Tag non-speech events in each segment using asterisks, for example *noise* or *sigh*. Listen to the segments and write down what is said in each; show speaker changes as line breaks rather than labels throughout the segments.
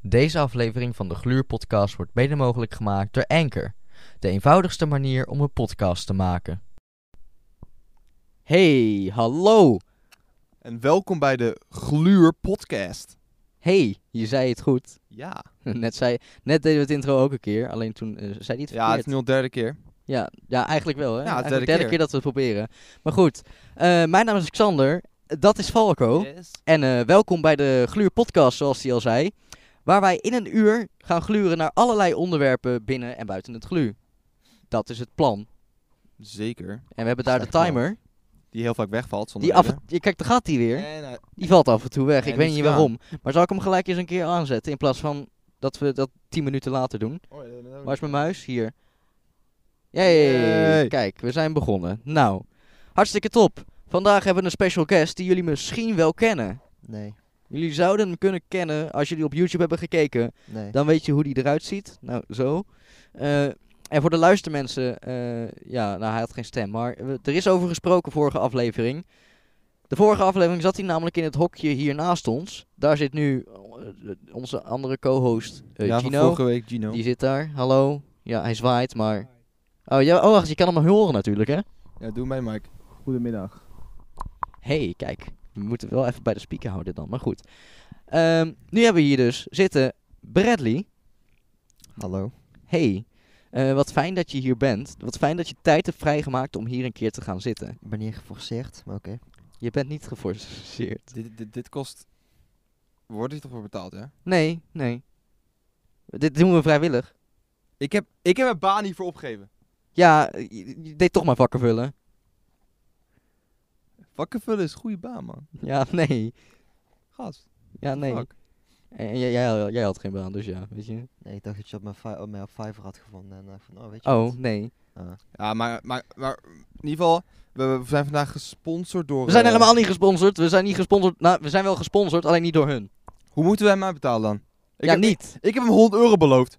Deze aflevering van de Gluurpodcast wordt mede mogelijk gemaakt door Anchor. De eenvoudigste manier om een podcast te maken. Hey, hallo.
En welkom bij de Gluur Podcast.
Hey, je zei het goed. *laughs*
Ja.
Net, zei, net deden we het intro ook een keer, alleen toen eh, zei hij het
Ja, het
verkeerd.
is nu al de derde keer.
ja, ja, eigenlijk wel hè.
het
eigenlijk
derde
de derde
keer.
keer dat we het proberen. Maar goed, eh, mijn naam is Xander, dat is
Oh.
Falco. En eh, welkom bij de Gluur Podcast, zoals hij al zei. Waar wij in een uur gaan gluren naar allerlei onderwerpen binnen en buiten het gluur. Dat is het plan.
Zeker.
En we hebben daar de
Slecht plan.
timer.
Die heel vaak wegvalt zonder
Die af
reden.
en- Kijk, daar gaat hij weer.
En, eh,
Die valt af en toe weg.
En
Ik weet
is
niet
gedaan.
waarom. Maar zal ik hem gelijk eens een keer aanzetten in plaats van dat we dat 10 minuten later doen?
oh,
Waar is mijn muis? Hier. Yay!
Yay.
Kijk, we zijn begonnen. Nou, hartstikke top. Vandaag hebben we een special guest die jullie misschien wel kennen.
Nee,
Jullie zouden hem kunnen kennen als jullie op YouTube hebben gekeken.
nee.
Dan weet je hoe die eruit ziet. Nou, zo. Eh, en voor de luistermensen, eh, ja, nou hij had geen stem, maar eh, er is over gesproken vorige aflevering. De vorige aflevering zat hij namelijk in het hokje hier naast ons. Daar zit nu eh, onze andere co-host eh,
ja, van
Gino.
vorige week Gino.
Die zit daar. Hallo. Ja, hij zwaait, maar. Oh, ja, oh wacht, je kan hem maar horen natuurlijk, hè?
Ja, doe mij Mike.
Goedemiddag.
hey, kijk, we moeten wel even bij de speaker houden dan, maar goed. Ehm, nu hebben we hier dus zitten Bradley.
Hallo.
Hey, eh, wat fijn dat je hier bent. Wat fijn dat je tijd hebt vrijgemaakt om hier een keer te gaan zitten.
Ik ben niet geforceerd, maar oké.
Je bent niet geforceerd.
Dit, dit, dit kost... Wordt hier toch voor betaald, hè?
Nee, nee. Dit doen we vrijwillig.
Ik heb, ik heb mijn baan hiervoor opgegeven.
Ja, je, je deed toch maar vakken vullen.
Vakken vullen is een goede baan, man.
Ja, nee.
Gast.
Ja, nee.
Fuck.
En jij, jij, jij had geen baan, dus ja, weet je.
Nee, ik dacht dat je op mijn fi- op mij op Fiverr had gevonden en dacht van, oh, weet je
Oh,
wat?
nee.
Ah.
Ja, maar, maar, maar in ieder geval, we, we zijn vandaag gesponsord door...
We zijn
eh,
helemaal niet gesponsord. We zijn niet gesponsord. Nou, we zijn wel gesponsord, alleen niet door hun.
Hoe moeten wij mij betalen dan? Ik
ja,
heb,
niet.
Ik, heb hem 100 euro beloofd.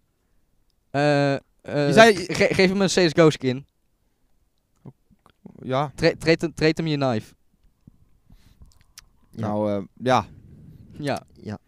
Eh, eh,
Je zei-
ge- geef hem een CSGO skin.
Ja,
Tre- treed hem- treed hem je knife.
Ja.
nou, eh, ja,
Ja.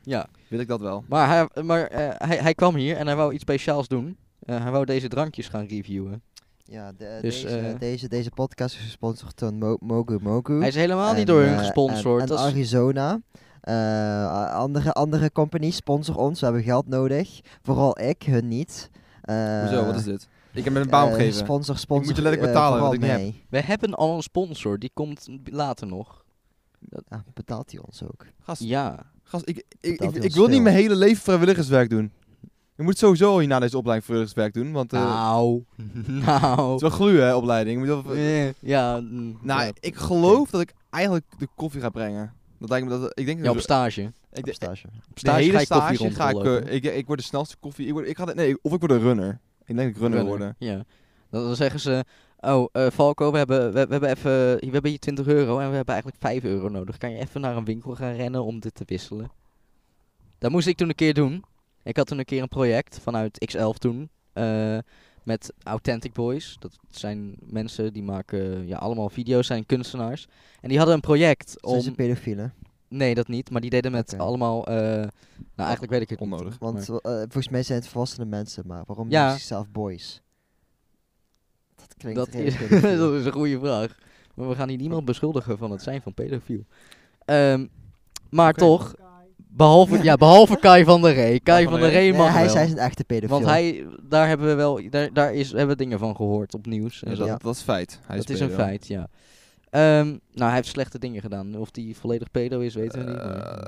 Ja.
wil ik dat wel.
Maar, hij, maar eh, hij, hij kwam hier en hij wou iets speciaals doen. Eh, hij wou deze drankjes gaan reviewen.
Ja, de- eh,
Dus,
deze,
eh,
deze, deze podcast is gesponsord door Mo- Mogu Mogu.
Hij is helemaal niet
En,
door hun
eh,
gesponsord.
En, en
Dat is-
Arizona. Eh, andere, andere companies sponsor ons, we hebben geld nodig. Vooral ik, hun niet. Eh,
Hoezo, wat is dit? Ik heb hem een baan
eh,
opgegeven.
Sponsor, sponsor.
moet je letterlijk
eh,
betalen wat
vooral
ik niet
mij.
We hebben al een sponsor, die komt later nog.
Ja, Ah, betaalt hij ons ook?
Gast,
Ja.
gast ik, ik,
Betaalt
ik,
hij
ik
ons
wil niet
veel?
mijn hele leven vrijwilligerswerk doen. Je moet sowieso hier na deze opleiding vrijwilligerswerk doen, want eh,
nou.
het
*laughs* Nou.
is wel glu hè, opleiding. Je moet wel-
Eh, Ja. mm,
nou,
eh,
ja.
ik geloof dat ik eigenlijk de koffie ga brengen. Dat lijkt me dat, ik denk
Ja,
dat
op stage.
ik,
Op
de,
stage.
Op
de
stage
hele
ga ik koffie
stage ga ik,
rondlopen.
eh, ik, ik word de snelste koffie. Ik word, ik ga, de- nee, of ik word een runner. Ik denk dat ik runner, worden.
Ja. Dan, dan zeggen ze, oh eh, Falco, we hebben, we, we hebben even, we hebben hier 20 euro en we hebben eigenlijk 5 euro nodig. Kan je even naar een winkel gaan rennen om dit te wisselen? Dat moest ik toen een keer doen. Ik had toen een keer een project vanuit X11 toen. eh, met Authentic Boys. Dat zijn mensen die maken ja, allemaal video's, zijn kunstenaars. En die hadden een project
Om...
om...
Zijn pedofielen?
Nee, dat niet. Maar die deden met
Oké.
allemaal... eh, nou, eigenlijk weet ik het
Onnodig.
Niet, maar-
Want eh, volgens mij zijn het volwassene mensen, maar waarom
Ja.
noemen ze zichzelf boys? Dat klinkt
Dat *laughs* is,
redelijk
dat
pedofiel.
is een goede vraag. Maar we gaan hier niemand beschuldigen van het zijn van pedofiel. Ehm, maar
Oké.
toch, behalve, ja, behalve Kai van der Ree. Kai van der Ree
Nee,
mag
hij,
wel.
hij is een echte pedofiel.
want hij, daar hebben we wel, daar, daar is, hebben we dingen van gehoord op nieuws. En
Ja,
zo.
Dus dat,
Ja.
dat is feit. Hij
dat is een
pedo.
feit, ja. Ehm, nou, hij heeft slechte dingen gedaan. Of die volledig pedo is, weten we niet. maar-
Eh,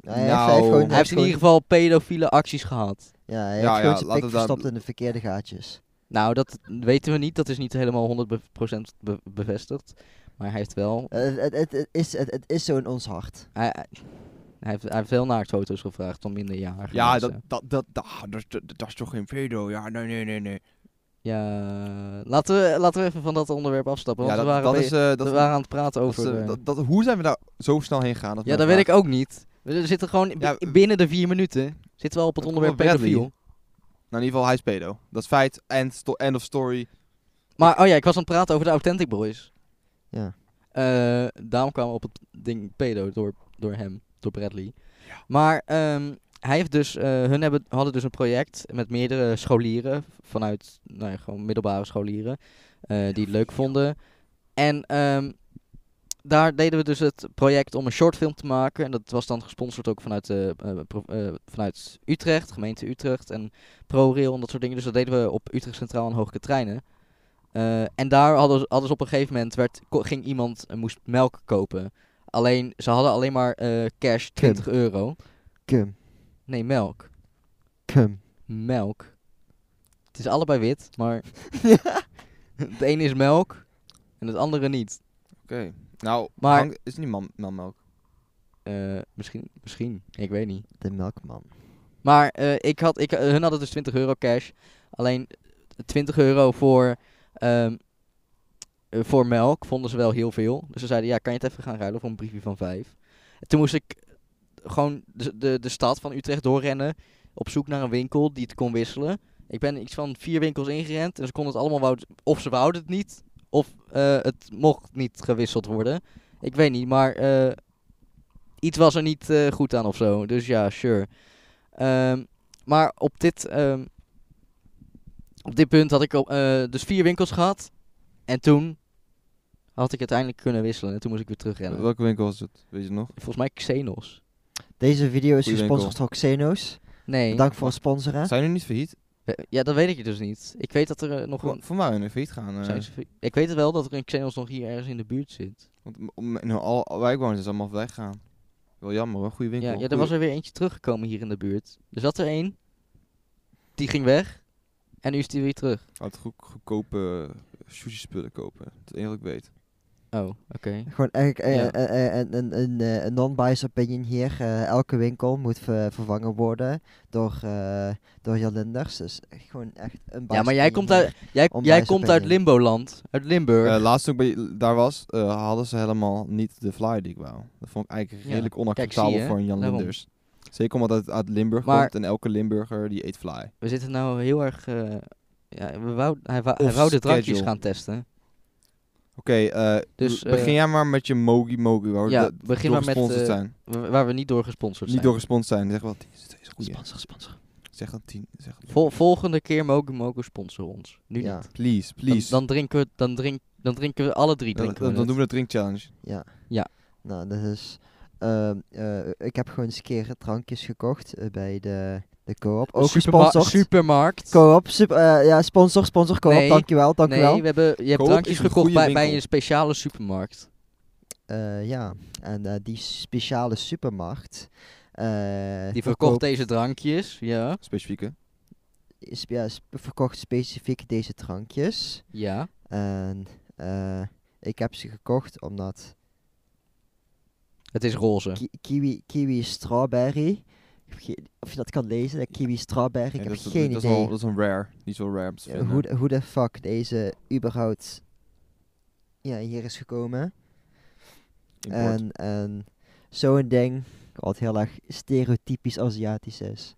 Ja, hij
nou,
heeft gewoon-
hij heeft in
gewoon-
ieder geval pedofiele acties gehad.
ja, hij
Ja,
heeft
ja,
gewoon
laten we daar-
zijn pik verstopt in de verkeerde gaatjes.
Nou, dat weten we niet. Dat is niet helemaal 100% be- bevestigd. Maar hij heeft wel
Eh, het, het, het is, het, het is zo in ons hart.
Hij, hij, hij heeft, hij heeft veel naaktfoto's gevraagd van minderjarigen.
Ja,
mensen.
dat, dat, dat, dat, ah, dat, dat- dat is toch geen pedo? Ja, nee, nee, nee, nee.
Ja, laten we, laten we even van dat onderwerp afstappen.
Ja,
Want
dat,
we, waren
dat
be-
is... eh,
we
dat,
waren aan het praten
dat is,
over...
eh,
eh,
dat- dat- hoe zijn we daar zo snel heen gegaan?
ja, dat weet ik ook niet. We zitten gewoon bi-
Ja, we-
binnen de vier minuten. Zitten we al op het
Kom
onderwerp
op, Bradley.
pedofiel.
Nou, in ieder geval, hij is pedo. Dat is feit. End, sto- end of story.
Maar, oh ja, ik was aan het praten over de Authentic Boys.
Ja.
Eh, daarom kwamen we op het ding pedo door, door hem, door Bradley. Maar ehm, hij heeft dus, eh, hun hebben, hadden dus een project met meerdere scholieren vanuit, nou ja, gewoon middelbare scholieren, eh, die het leuk vonden. En ehm, daar deden we dus het project om een shortfilm te maken. En dat was dan gesponsord ook vanuit, de, eh, pro- eh, vanuit Utrecht, gemeente Utrecht en ProRail en dat soort dingen. Dus dat deden we op Utrecht Centraal en Hoge Treinen. Eh, en daar hadden ze, hadden ze op een gegeven moment, werd, ko- ging iemand, eh, moest melk kopen. Alleen, ze hadden alleen maar eh, cash 20 euro.
Kum.
Nee, melk.
Kum.
Melk. Het is allebei wit, maar het ene is melk en het andere niet.
Oké. Nou,
Maar-
hangt- is het niet man, manmelk?
Eh, misschien, misschien, ik weet niet.
De melkman.
Maar eh, ik had, ik, eh, hun hadden dus 20 euro cash. Alleen 20 euro voor, ehm, eh, voor melk vonden ze wel heel veel. Dus ze zeiden, ja, kan je het even gaan ruilen voor een briefje van vijf? En toen moest ik gewoon de, de, de stad van Utrecht doorrennen op zoek naar een winkel die het kon wisselen. Ik ben iets van vier winkels ingerend en ze konden het allemaal, wou, of ze wouden het niet, of eh, het mocht niet gewisseld worden. Ik weet niet, maar eh, iets was er niet eh, goed aan of zo. Dus ja, sure. Ehm, maar op dit, ehm, op dit punt had ik op, eh, dus vier winkels gehad. En toen had ik uiteindelijk kunnen wisselen. En toen moest ik weer terugrennen.
Welke winkel was het? Weet je het nog?
Volgens mij Xenos.
Deze video is
Goeie
gesponsord door Xenos.
Nee.
Bedankt voor het sponsoren.
Zijn jullie niet failliet?
We- Ja, dat weet ik dus niet. Ik weet dat er eh, nog
Voor,
een...
voor mij een failliet gaan. eh,
zijn ze- Ik weet wel dat er een Xenos nog hier ergens in de buurt zit.
want m- om, in al, al waar ik woon is het allemaal weggegaan. Wel jammer hoor, goede winkel.
Ja, ja, er
Goeie-
was er weer eentje teruggekomen hier in de buurt. Er zat er één. Die ging weg. En nu is die weer terug.
Had goed, goedkope eh, sushi spullen kopen. Dat is eigenlijk weet.
Oh, oké.
*laughs*
Gewoon eigenlijk eh,
Ja.
eh, eh, een, een, een, eh, een non-biased opinion hier. Eh, elke winkel moet ver- vervangen worden door, eh door Jan Linders. Dus echt gewoon echt een
Ja, maar jij
biased opinion
komt
hier.
uit, jij, jij
Onwijs
komt uit
opinion.
Limboland. Uit Limburg.
Eh laatst toen ik bij, daar was, eh, hadden ze helemaal niet de flyer die ik wou. Dat vond ik eigenlijk
Ja.
redelijk
zie
onacceptabel
je,
voor een Jan
daarom.
Linders. Zeker omdat het uit Limburg
Maar-
komt en elke Limburger die eet fly.
We zitten nou heel erg... eh, ja, we wou, hij, wou,
Off
hij wou de drankjes
schedule.
gaan testen.
Oké, eh,
Dus,
l- begin
eh,
jij maar met je Mogi Mogi. Waar we
ja,
dat-
begin
door
maar met,
gesponsord
eh,
zijn.
Wa- Waar we niet door gesponsord
Niet
zijn.
door gesponsord zijn. Zeg wel tien. Deze is goed.
Sponsor, sponsor.
Zeg dan tien. Zeg dan-
Vol- volgende keer mogen mogen sponsoren ons. Nu
Ja.
niet.
Please, please.
Dan, dan drinken we, dan drink, dan drinken we alle drie
Dan-
drinken.
dan,
we
dan
het.
doen we de drink challenge.
Ja.
Ja.
Nou, dat is... ehm, eh, ik heb gewoon eens een keer drankjes gekocht eh, bij de, de co-op. Ook
Superma-
gesponsord.
supermarkt.
Co-op, sup- eh, ja, sponsor, sponsor, co-op,
Nee.
dankjewel, dankjewel.
nee, we hebben, je hebt
Coop
drankjes
is een
gekocht
goede
bij, bij
winkel.
een speciale supermarkt.
Eh, ja, en eh, die speciale supermarkt... eh,
Die
verkoopt-
verkocht deze drankjes. Ja,
Specifieke.
is- ja, sp- verkocht specifiek deze drankjes.
ja.
En eh, ik heb ze gekocht omdat
Het is roze.
ki- kiwi, kiwi strawberry. Ik heb geen- Of je dat kan lezen, de kiwi strawberry. Ik
Ja,
heb
dat, is-
geen
dat, is wel-
idee
dat is een rare. Die is wel rare. om te
ja,
vinden.
hoe, de- hoe de fuck deze überhaupt ja, hier is gekomen.
eh,
Import.
En, en zo'n ding, wat heel erg stereotypisch Aziatisch is.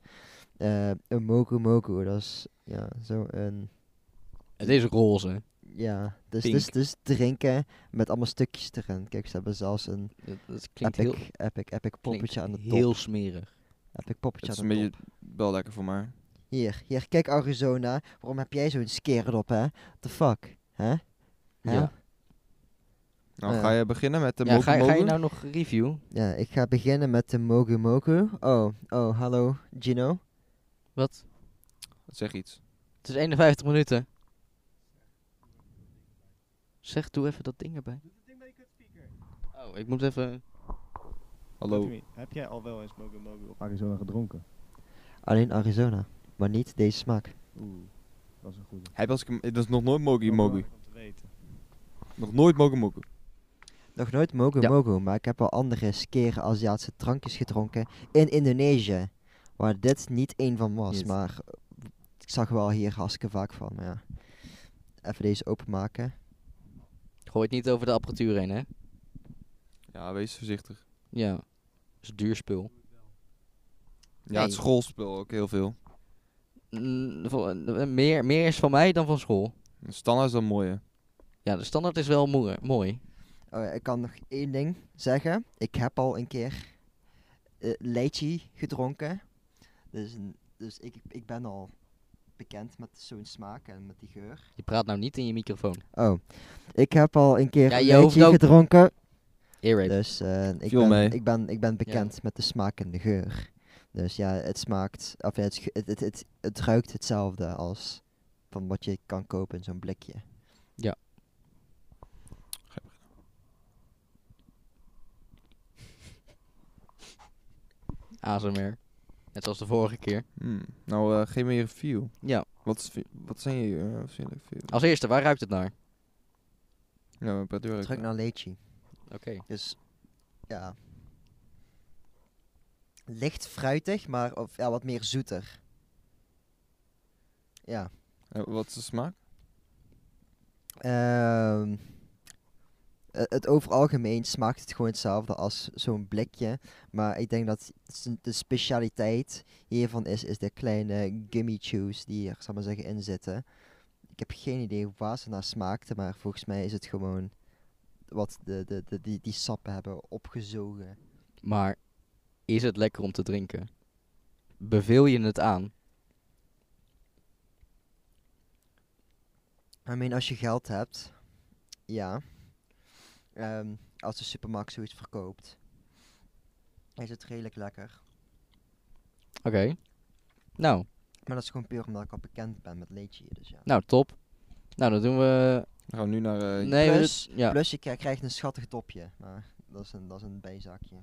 Eh, een moku moku, dat is ja, zo'n
Het is roze.
Ja, dus,
Pink.
dus, dus drinken met allemaal stukjes erin. Kijk, ze hebben zelfs een
Dat, dat klinkt
epic,
heel,
epic, epic
klinkt
poppetje aan de top.
heel smerig.
epic poppetje
Het
aan
is
de
een
top.
beetje wel lekker voor mij.
Hier, hier, kijk Arizona. Waarom heb jij zo'n skeer op, hè? What the fuck? Hè? Hè?
Ja.
Nou,
Ja.
ga je beginnen met de
Eh. Ja,
Mogi
ga, ga je
Mogi?
nou nog review?
Ja, ik ga beginnen met de Mogu Mogu. Oh, oh, hallo, Gino.
Wat?
Zeg iets.
Het is 51 minuten. Zeg, doe even dat ding erbij. Oh, ik moet even...
Hallo.
Anthony, Heb jij al wel eens Mogu Mogu op Arizona gedronken?
Alleen Arizona, maar niet deze smaak.
Oeh, dat is een goede.
Hij was, dat is nog nooit Mogi Mogi.
Om te weten.
Nog nooit Mogi Mogi.
Nog nooit Mogu
Ja.
Mogu, maar ik heb wel andere skere Aziatische drankjes gedronken in Indonesië. Waar dit niet één van was,
Niet.
maar eh, ik zag wel hier hartstikke vaak van. Maar ja. Even deze openmaken.
Gooi het niet over de apparatuur heen, hè?
Ja, wees voorzichtig.
Ja. Dat is duur spul.
Ja,
Nee.
het schoolspel ook heel veel.
Mm, vol- eh, meer, meer is van mij dan van school.
Standaard is dat mooi, hè?
Ja, de standaard is wel mooi. mooi.
Oh ja, ik kan nog één ding zeggen. Ik heb al een keer eh lychee gedronken. Dus, dus ik, ik ben al bekend met zo'n smaak en met die geur.
Je praat nou niet in je microfoon.
Oh, ik heb al een keer
Ja,
een
je hoeft
beetje
ook-
gedronken.
Earrape.
Dus eh, ik,
Viel
ben,
mee.
ik, ben, ik ben bekend met de smaak en de geur. Dus ja, het smaakt, of ja, het, schu- het, het, het, het ruikt hetzelfde als van wat je kan kopen in zo'n blikje.
ASMR. Net zoals de vorige keer.
Hmm. Nou, eh, geef me je review.
Ja.
Wat, is, wat zijn je eh, wat zijn je review?
Als eerste, waar ruikt het naar?
Ja, mijn pret
Het
nou-
ruikt naar lychee.
Oké.
Dus ja. Licht fruitig, maar of, ja, wat meer zoeter. Ja.
Eh, wat is de smaak?
Ehm, eh, het over algemeen smaakt het gewoon hetzelfde als zo'n blikje. Maar ik denk dat s- de specialiteit hiervan is, is de kleine gummy chews die er, zal ik maar zeggen, in zitten. Ik heb geen idee waar ze naar smaakten, maar volgens mij is het gewoon wat de, de, de, die, die sappen hebben opgezogen.
Maar is het lekker om te drinken? Beveel je het aan?
I mean, als je geld hebt, ja. Ehm, als de supermarkt zoiets verkoopt, is het redelijk lekker.
Oké. Nou,
Maar dat is gewoon puur omdat ik al bekend ben met leedje, dus ja.
nou top. Nou, dan doen we...
Dan gaan we nu naar... eh,
Nee, we-
Plus-
ja.
Plus je k- krijgt een schattig dopje, maar dat is een, dat is een bijzakje.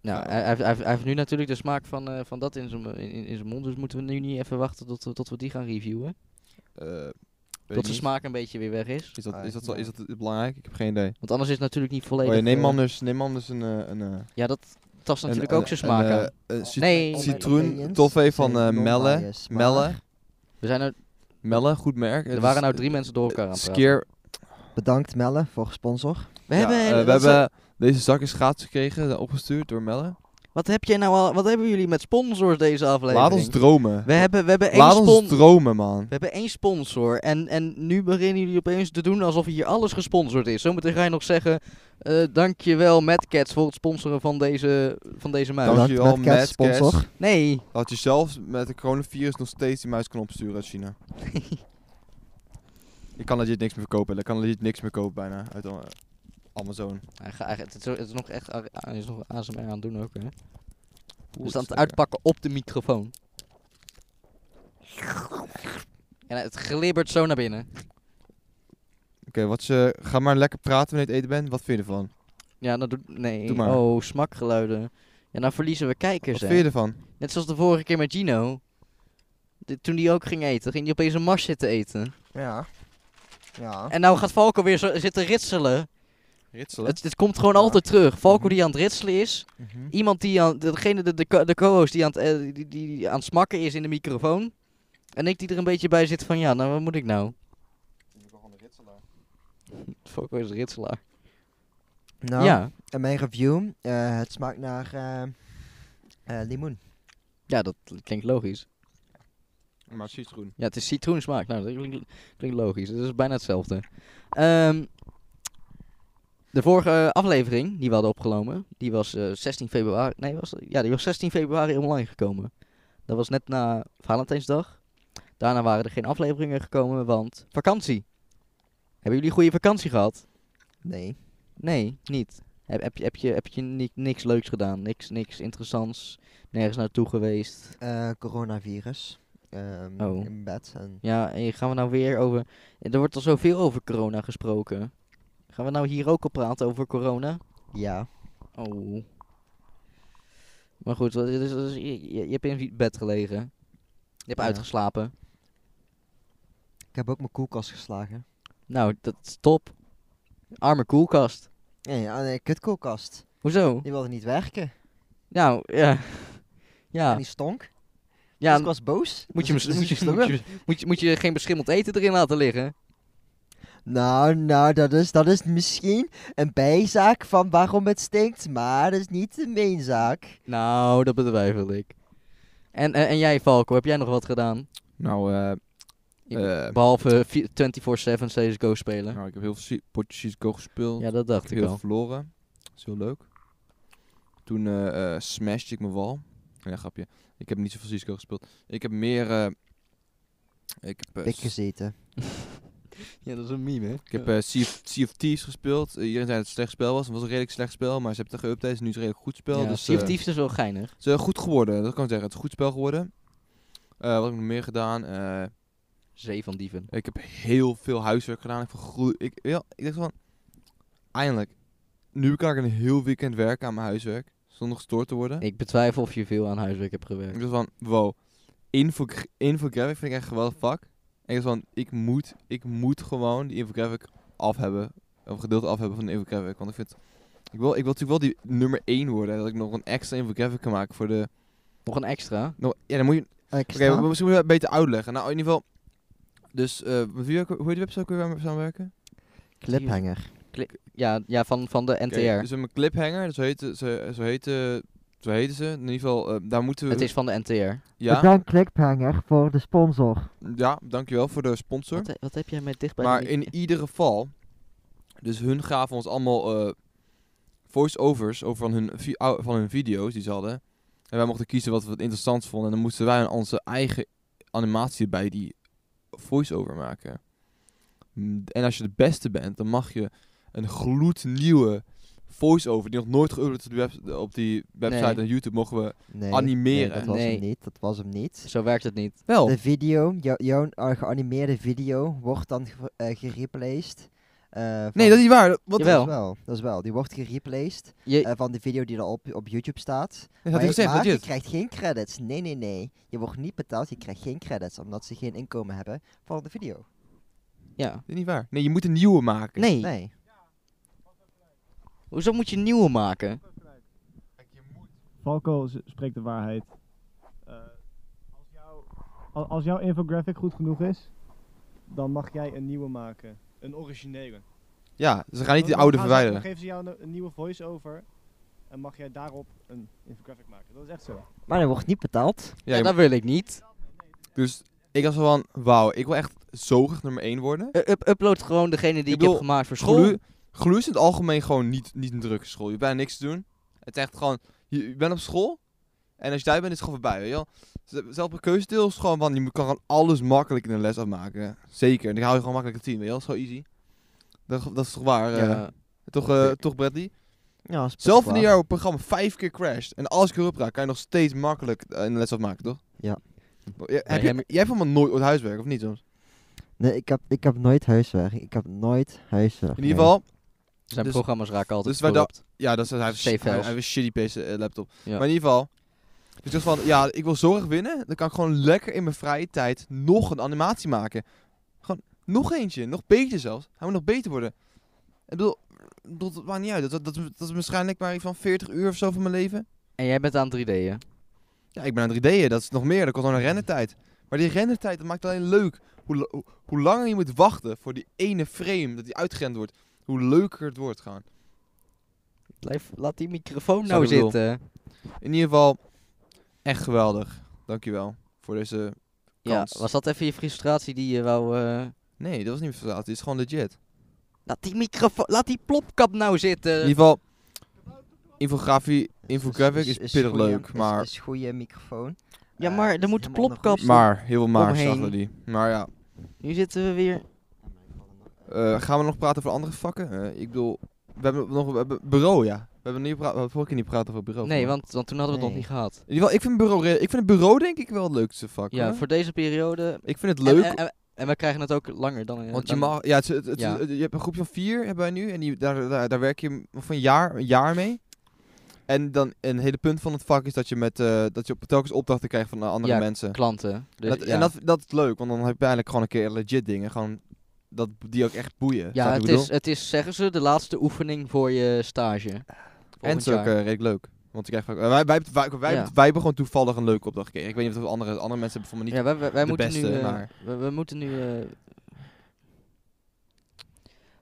Nou, hij, hij, hij- hij heeft nu natuurlijk de smaak van, eh, van dat in zijn in, in zijn mond. Dus moeten we nu niet even wachten tot, we- tot we die gaan reviewen.
eh, weet ik
Tot zijn
niet.
smaak een beetje weer weg is.
Is dat,
Ah,
is, dat, zo-
ja.
is dat belangrijk? Ik heb geen idee.
Want anders is het natuurlijk niet volledig...
Oh, ja, neem,
eh,
anders, neem anders een... eh, een eh,
Ja, dat tast
een-
natuurlijk
een-
ook zijn
een,
smaak
eh,
aan.
een cit-
Nee.
All my
citroen,
opinions
toffee van,
zijn
eh, Melle,
non-biased, maar
Melle.
We zijn er,
Melle, goed merk.
er waren nou drie mensen door elkaar aan het praten.
dus Skeer,
Bedankt Melle voor sponsor.
We
Ja,
hebben,
eh,
dat
we
is-
hebben deze zak is gratis gekregen, eh, opgestuurd door Melle.
Wat heb jij nou al... Wat hebben jullie met sponsors deze aflevering?
Laat ons dromen.
We hebben, we hebben één
Laat
sponsor...
ons dromen, man.
We hebben één sponsor en, en nu beginnen jullie opeens te doen alsof hier alles gesponsord is. Zometeen ga je nog zeggen, eh dankjewel Madcats voor het sponsoren van deze, van deze muis.
Dank-
Bedankt
Dankjewel,
met Cat
Mad
sponsor.
Nee,
Dat je zelfs met het coronavirus nog steeds die muis kan opsturen uit
*laughs*
China. ik kan legit niks meer kopen. Ik kan legit niks meer kopen bijna uit eh, Amazon.
hij ga- hij- het is, het is nog echt a- hij is nog ASMR aan het doen ook hè.
Oeh,
Dus aan
het
het
is
uitpakken op de microfoon. En het glibbert zo naar binnen.
Oké, wat je ga maar lekker praten wanneer je het eten bent. Wat vind je ervan?
Ja, dat doet... Nee,
Doe maar.
oh, smakgeluiden. Ja, nou verliezen we kijkers
Wat
hè.
vind je ervan?
Net zoals de vorige keer met Gino. De- toen die ook ging eten, ging die opeens een mars zitten eten.
Ja. Ja.
En nou gaat Valko weer zo zitten ritselen.
Ritselen.
Het, het komt gewoon
Ja.
altijd terug. Valko
Mhm.
die aan het ritselen is.
Mhm.
Iemand die aan... Degene, de, de, co- de co-host die aan, het, eh, die, die, die aan het smakken is in de microfoon. En ik die er een beetje bij zit van... Ja, nou wat moet ik nou? *laughs* Valko is een ritselaar.
Nou,
Ja.
en mijn review, eh, het smaakt naar eh, eh, limoen.
ja, dat klinkt logisch.
Maar het is groen.
Ja, het is citroensmaak. Nou, dat klinkt, klinkt logisch. Dat is bijna hetzelfde. Ehm, de vorige eh, aflevering die we hadden opgenomen, die was eh, 16 februari. Nee, was, ja, die was 16 februari online gekomen. Dat was net na Valentijnsdag. Daarna waren er geen afleveringen gekomen, want vakantie. Hebben jullie goede vakantie gehad?
Nee.
Nee, niet. Heb, heb je, heb je, heb je ni- niks leuks gedaan? Niks, niks interessants? Nergens naartoe geweest?
Eh, coronavirus. Ehm,
Oh.
In bed. En
Ja, en gaan we nou weer over. Er wordt al zoveel over corona gesproken. Gaan we nou hier ook al praten over corona?
ja.
Oh. Maar goed, wat- dus, dus, je, je je hebt in bed gelegen. Je hebt
Ja.
uitgeslapen.
Ik heb ook mijn koelkast geslagen.
Nou, dat is top. Arme koelkast.
Nee, ja, nee, kutkoelkast.
Hoezo?
Die wilde niet werken.
Nou, ja.
En
Ja,
die stonk.
ja.
Dus ik was boos.
Moet *laughs* je,
Dus
hem-
ik-
moet,
dus
je,
ik
moet,
stonk.
je, moet, je, moet je geen beschimmeld eten erin laten liggen?
Nou, nou, dat is, dat is misschien een bijzaak van waarom het stinkt. Maar dat is niet de meenzaak.
Nou, dat betwijfel ik. En, en, en jij, Falco, heb jij nog wat gedaan?
Nou, eh,
Ik-
eh,
Behalve vi- 24-7 CSGO spelen.
nou, ik heb heel veel si- potjes Cisco gespeeld.
Ja, dat
Ik
dacht
heb
ik
heel veel
al.
verloren. Dat is heel leuk. Toen eh eh smashte ik mijn wal. Ja, grapje. Ik heb niet zoveel Cisco gespeeld. Ik heb meer... eh, ik heb, eh,
Pik
s-
gezeten.
Ja, dat is een meme, hè?
ik heb eh, sea, of, sea of Thieves gespeeld. Eh, iedereen zei dat het een slecht spel was. Het was een redelijk slecht spel, maar ze hebben het geüpdate. Nu is het een redelijk goed spel.
ja,
dus,
Sea of
eh,
Thieves is wel geinig.
Het is eh, goed geworden, dat kan ik zeggen. Het is een goed spel geworden. Eh, wat heb ik nog meer gedaan? Eh,
Zee van dieven.
ik heb heel veel huiswerk gedaan. Ik, vergroe- ik, ja, ik dacht van, eindelijk. Nu kan ik een heel weekend werken aan mijn huiswerk. Zonder gestoord te worden.
Ik betwijfel of je veel aan huiswerk hebt
Ik
gewerkt.
dacht van, wow. Infog infographic vind ik echt een geweldig vak. En ik dacht van, ik moet, ik moet gewoon die infographic af hebben. Of een gedeelte af hebben van de infographic. Want ik vind, ik wil, ik wil natuurlijk wel die nummer 1 worden. Dat ik nog een extra infographic kan maken voor de...
Nog een extra.
Nog, ja, dan moet je
Oké,
Oké, maar misschien moeten we het beter uitleggen. Nou, in ieder geval. Dus, eh met wie, ook- hoe heet die website ook weer waar we samenwerken?
Cliphanger.
Ja, ja van, van de NTR.
Oké, Dus we hebben een cliphanger, zo heten, zo, zo, heten, zo heten ze. In ieder geval, eh, daar moeten we...
Het is van de NTR.
ja,
Bedankt Cliphanger voor de sponsor.
ja, dankjewel voor de sponsor.
Wat, he- wat heb jij met dichtbij?
Maar
de-
in ieder geval, dus hun gaven ons allemaal eh, voice-overs over van hun, vi- ou- van hun video's die ze hadden. En wij mochten kiezen wat we het interessant vonden. En dan moesten wij aan onze eigen animatie bij die voice-over maken. Mm, En als je de beste bent, dan mag je een gloednieuwe voice-over, die nog nooit geüpload is op, die webs- op die website
Nee.
en YouTube, mogen we...
Nee,
Animeren.
nee, dat was
Nee.
hem niet. Dat was hem niet.
Zo werkt het niet.
Wel,
De video, jou- jouw eh, geanimeerde video, wordt dan ge- eh, gereplaced. eh, van-
nee, dat is niet waar. Wat
Jawel.
Dat is wel, dat is wel. Die wordt gereplaced
Je,
eh, van de video die er op, op YouTube staat.
dat had
maar
hij
je,
gezegd,
maar je
legit.
krijgt geen credits. Nee, nee, nee. Je wordt niet betaald, je krijgt geen credits, omdat ze geen inkomen hebben van de video.
ja.
Dat is niet waar. Nee, je moet een nieuwe maken.
Nee.
Nee.
Hoezo moet je nieuwe maken?
Falco z- spreekt de waarheid. Eh, als, jouw- al- als jouw infographic goed genoeg is, dan mag jij een nieuwe maken. Een originele.
Ja, ze gaan niet die
Dan-
oude
dan Oh, gaan ze-
verwijderen.
Dan geven ze jou een, een nieuwe voice-over en mag jij daarop een infographic maken. Dat is echt zo.
Maar hij wordt niet betaald.
Ja,
Ja, je
dat wil ik niet.
Dus ik was wel van, wauw, ik wil echt zo graag nummer 1 worden.
U- up- upload gewoon degene die ik,
bedoel,
heb gemaakt voor school.
Gloe, gloe is in het algemeen gewoon niet, niet een drukke school. Je hebt bijna niks te doen. Het is echt gewoon, je, je bent op school en als je daar bent is het gewoon voorbij, weet je wel. Z- Zelfs bij keuzedeel is het gewoon van, je moet- kan gewoon alles makkelijk in een les afmaken. Zeker, en dan hou je gewoon makkelijk een 10, weet je wel. Zo easy. Dat, dat is toch waar, eh,
Ja.
toch, eh, toch Bradley?
Ja, dat is
Zelf
best
wanneer
waar.
jouw programma vijf keer crasht en alles keer opraakt, kan je nog steeds makkelijk eh, een les afmaken, toch?
Ja.
Ja,
Bij
heb je,
hem-
jij hebt helemaal nooit ooit huiswerk, of niet soms?
Nee, ik heb, ik heb nooit huiswerk. Ik heb nooit huiswerk.
In ieder geval,
Zijn
dus-
programma's raken altijd
dus wij
corrupt.
Ja, dat is, hij, heeft,
Save
hij, hij
files.
heeft een shitty PC eh, laptop.
Ja.
Maar in ieder geval. Dus ik dacht van, ja, ik wil zorg winnen. Dan kan ik gewoon lekker in mijn vrije tijd nog een animatie maken. Gewoon nog eentje, nog beter zelfs. Hij moet nog beter worden. Ik bedoel, ik bedoel, dat maakt niet uit. Dat, dat, dat is waarschijnlijk maar iets van 40 uur of zo van mijn leven.
En jij bent aan 3D'en.
Ja, ik ben aan 3D'en, dat is nog meer. Dat komt dan een rennetijd. Maar die rennetijd, dat maakt het alleen leuk. Hoe, la- hoe, hoe langer je moet wachten voor die ene frame dat die uitgerend wordt, hoe leuker het wordt gaan.
Blijf, laat die microfoon
Sorry,
nou
ik bedoel-
zitten.
In ieder geval, echt geweldig. Dankjewel voor deze...
Ja,
Kans.
was dat even je frustratie die je wou... eh,
Nee, dat was niet verraad. Dit is gewoon legit.
Laat die microfoon... Laat die plopkap nou
In
zitten.
ieder geval, infografie,
Is-
infographic is, pittig
goeie-
leuk,
is-
maar,
Is, goede microfoon.
Ja,
Eh,
maar
is
er moet
helemaal nog
plopkap-
goed.
maar heel veel maar
Omheen.
zagen die. Maar ja,
Nu zitten we weer...
eh, gaan we nog praten over andere vakken? Eh, ik bedoel, we hebben nog we hebben bureau, ja. We hebben, niet pra- we hebben vorige keer niet praten over bureau.
Nee,
maar-
want, want toen hadden we het
Nee.
nog niet gehad.
In ieder geval, ik vind bureau, re- ik vind het bureau denk ik wel het leukste vak.
Ja,
hoor.
voor deze periode...
Ik vind het
En-
leuk,
En, en- en we krijgen het ook langer dan... eh,
Want je
dan-
mag, ja, het, het, het-
Ja.
het- je hebt een groepje van vier hebben wij nu en die, daar, daar, daar werk je van een jaar, een jaar mee. En dan een hele punt van het vak is dat je met eh, dat je op telkens opdrachten krijgt van eh, andere
Ja,
mensen.
Klanten. Dus,
dat,
ja.
En dat, dat is leuk, want dan heb je eigenlijk gewoon een keer legit dingen, gewoon dat die ook echt boeien.
Ja,
Snap
het
je wat ik
is, het is, zeggen ze, de laatste oefening voor je stage.
bedoel? En
Volgend
het is ook
jaar.
eh, redelijk leuk. Want je krijgt vaak, eh, wij, wij, wij, wij,
Ja.
wij hebben gewoon toevallig een leuke opdracht gekregen. Ik weet niet of het andere, andere mensen hebben voor me niet.
ja, wij, wij, wij
de
moeten nu,
beste,
eh,
maar-
we, we moeten nu... eh,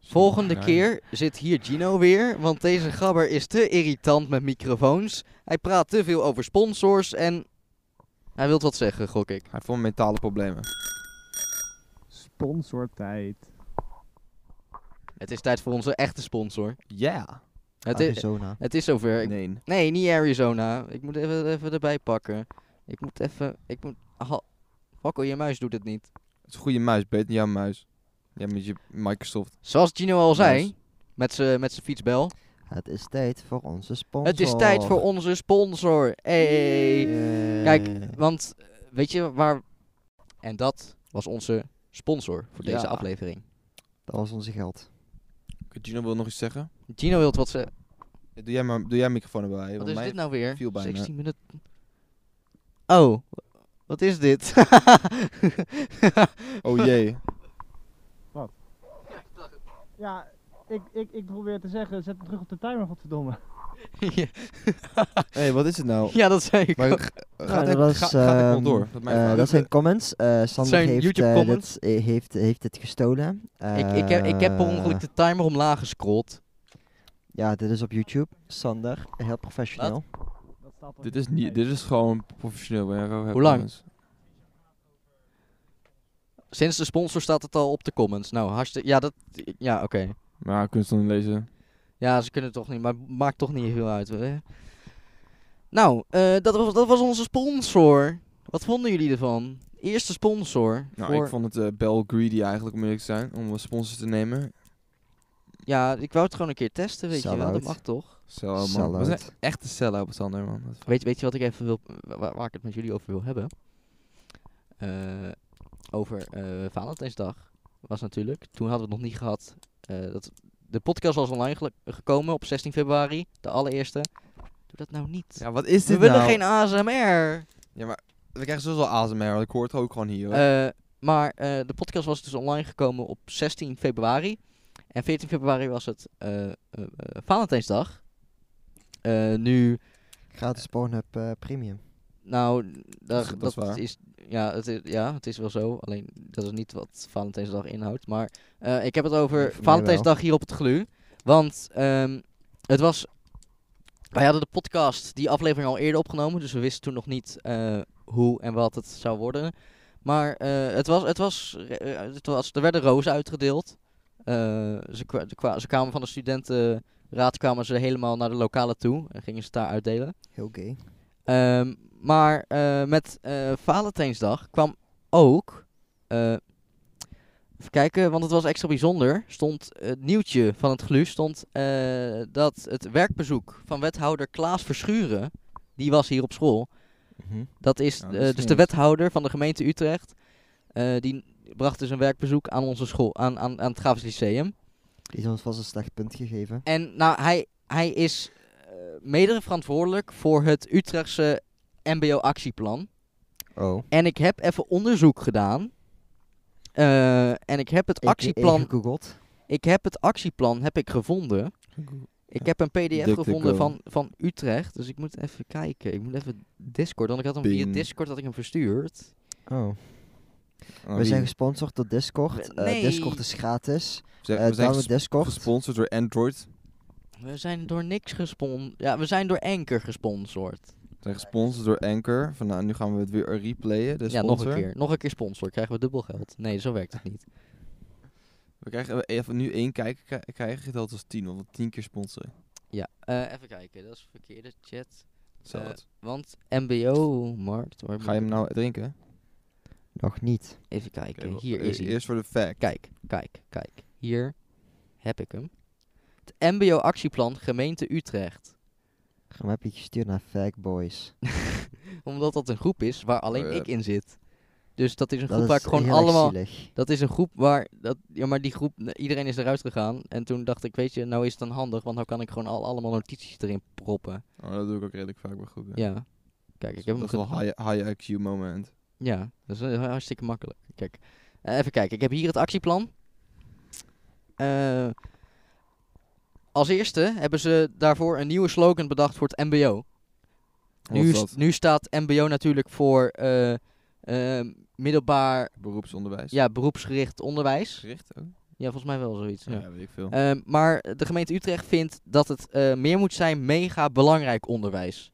volgende keer zit hier Gino weer, want deze gabber is te irritant met microfoons. Hij praat te veel over sponsors en hij wil wat zeggen, gok ik.
Hij heeft voor mentale problemen.
Sponsortijd.
Het is tijd voor onze echte sponsor.
Ja.
Het is,
Arizona.
het is zover. Ik-
Nee.
Nee, niet Arizona. Ik moet even, even erbij pakken. Ik moet even... Ik moet... Aha. Fakkel, je muis doet het niet.
Het is een goede muis, beter dan jouw muis. Ja, met je Microsoft.
Zoals Gino al zei,
Muis.
met zijn met z'n fietsbel.
Het is tijd voor onze sponsor.
Het is tijd voor onze sponsor. Hey. Kijk, want eh, weet je waar... En dat was onze sponsor voor deze
Ja.
aflevering.
Dat was onze geld.
Gino wil nog iets zeggen?
Gino wilt wat ze...
Eh, Doe jij, maar, doe jij microfoon erbij. want
Wat is
mijn-
dit nou weer?
viel bijna.
16 minuten. Oh, wat is *laughs* dit?
Oh jee.
Ja, ik, ik, ik probeer te zeggen, zet hem terug op de timer, godverdomme.
Ja,
Hé, hey, wat is het
*laughs*
nou?
ja, dat zei ik.
Maar
ook.
g-
Nou,
gaat hij
dat
ga,
was,
gaat hij
ehm,
gewoon door? Dat, mijn
eh,
vraag.
dat zijn comments. Eh Sander
zijn
heeft,
YouTube
eh,
comments.
dit, eh, heeft, heeft dit gestolen.
Ik, ik, heb, ik heb per ongeluk
Eh,
de timer omlaag gescrolld.
Ja, dit is op YouTube. Sander, heel professioneel.
Oh,
Dat staat al
Dit
in
is
de
niet,
tijd.
dit is gewoon professioneel. hè, Roheb
Hoe lang?
Collins.
Sinds de sponsor staat het al op de comments. Nou, hartstikke... Ja, dat... Ja, oké.
Maar ik kan het nog niet lezen.
Ja, ze kunnen het toch niet, maar maakt toch niet heel uit. Hè? Nou, eh, dat, was, dat was onze sponsor. Wat vonden jullie ervan? Eerste sponsor.
Nou,
voor-
ik vond het eh, Bell Greedy eigenlijk, om eerlijk te zijn. Om een sponsor te nemen.
Ja, ik wou het gewoon een keer testen, weet je wel. Dat
Sell-out.
mag toch?
Sell-out, man.
Sell-out.
We zijn echt een sell-out, Sander, man. Dat-
Weet, weet je wat ik even wil... wa- Waar, ik het met jullie over wil hebben? Eh, over eh Valentijnsdag was natuurlijk. Toen hadden we het nog niet gehad. eh, dat, de podcast was online gelu- gekomen op 16 februari. De allereerste. Doe dat nou niet.
Ja, wat is
we
dit
willen
nou?
geen ASMR.
Ja, maar we krijgen sowieso ASMR, want ik hoor het ook gewoon hier. hoor.
Eh, maar eh, de podcast was dus online gekomen op 16 februari. En 14 februari was het eh, eh, eh, Valentijnsdag. Eh, nu,
Gratis Pornhub eh, Premium.
nou, daar-
is- dat
dat,
is waar.
is, ja, het is, ja, het is wel zo. Alleen dat is niet wat Valentijnsdag inhoudt. Maar eh, ik heb het over
Voor mij
Valentijnsdag hier op het glu. Want ehm, het was. Wij hadden de podcast, die aflevering al eerder opgenomen. Dus we wisten toen nog niet eh, hoe en wat het zou worden. Maar eh, het, was, het, was, eh, het was. Er werden rozen uitgedeeld. Eh, ze, kwa- ze kwa- ze kwamen van de studentenraad kwamen ze helemaal naar de lokalen toe. En gingen ze het daar uitdelen.
Heel gay.
Ehm, maar eh, met eh Valentijnsdag kwam ook. eh, even kijken, want het was extra bijzonder. Stond het nieuwtje van het GLU stond eh, dat het werkbezoek van wethouder Klaas Verschuren. Die was hier op school.
Mhm.
Dat is,
Ja, Nou, dat
eh,
is
dus de
nieuws.
wethouder van de gemeente Utrecht. eh, die bracht dus een werkbezoek aan onze school, aan, aan, aan het Graafs Lyceum.
Die heeft ons vast een slecht punt gegeven.
En nou, hij, hij is eh, mede verantwoordelijk voor het Utrechtse MBO-actieplan.
Oh.
En ik heb even onderzoek gedaan. Eh, en ik heb het actieplan. Oh,
gegoogeld.
Ik heb het actieplan heb ik gevonden. Ik heb een PDF
DuckDuckGo.
gevonden van, van Utrecht. Dus ik moet even kijken. Ik moet even Discord. Want ik had hem via
Bing.
Discord had ik hem verstuurd.
Oh.
Nou,
We zijn
wie-
gesponsord door Discord. Eh,
Nee.
Discord is gratis.
we zijn-
Eh
we zijn
download
ges-
Discord.
gesponsord door Android.
We zijn door niks gesponsord. Ja, we zijn door Anker gesponsord.
We zijn gesponsord door Anchor. Van, nou, nu gaan we het weer replayen. De
Ja, nog een
sponsor.
keer. Nog een keer sponsor. Krijgen we dubbel geld? Nee, zo werkt het niet.
We krijgen even nu één kijker krij- krijgen geteld als tien, want we tien keer sponsoren.
Ja, eh, even kijken. Dat is verkeerde chat.
Zo
Eh,
wat.
Want MBO-markt.
Ga je hem nou drinken?
Nog niet.
Even
Oké,
kijken.
wel-
Hier
e-
is hij.
Eerst voor de fact.
Kijk, kijk, kijk. Hier heb ik hem. Het MBO-actieplan gemeente Utrecht.
Dan heb je gestuurd naar Fagboys.
Omdat dat een groep is waar alleen
Oh ja.
ik in zit. Dus dat is een
Dat
groep
is
waar ik gewoon
heel erg
allemaal...
zielig.
Dat is een groep waar... Dat, ja, maar die groep... Iedereen is eruit gegaan. En toen dacht ik, weet je, nou is het dan handig. Want nou kan ik gewoon al, allemaal notities erin proppen.
Oh, dat doe ik ook redelijk vaak bij groepen.
Ja. Kijk, ik heb hem...
dat is wel
ge-
high, high IQ moment.
Ja, dat is eh, hartstikke makkelijk. Kijk, eh, even kijken. Ik heb hier het actieplan. Eh, als eerste hebben ze daarvoor een nieuwe slogan bedacht voor het MBO.
Wat
Nu,
is
s-
dat?
nu staat MBO natuurlijk voor eh, eh, middelbaar
Beroepsonderwijs.
ja, beroepsgericht onderwijs.
Gericht ook?
Ja, volgens mij wel zoiets.
Ja,
Ja.
weet ik veel.
Eh, maar de gemeente Utrecht vindt dat het eh, meer moet zijn mega belangrijk onderwijs.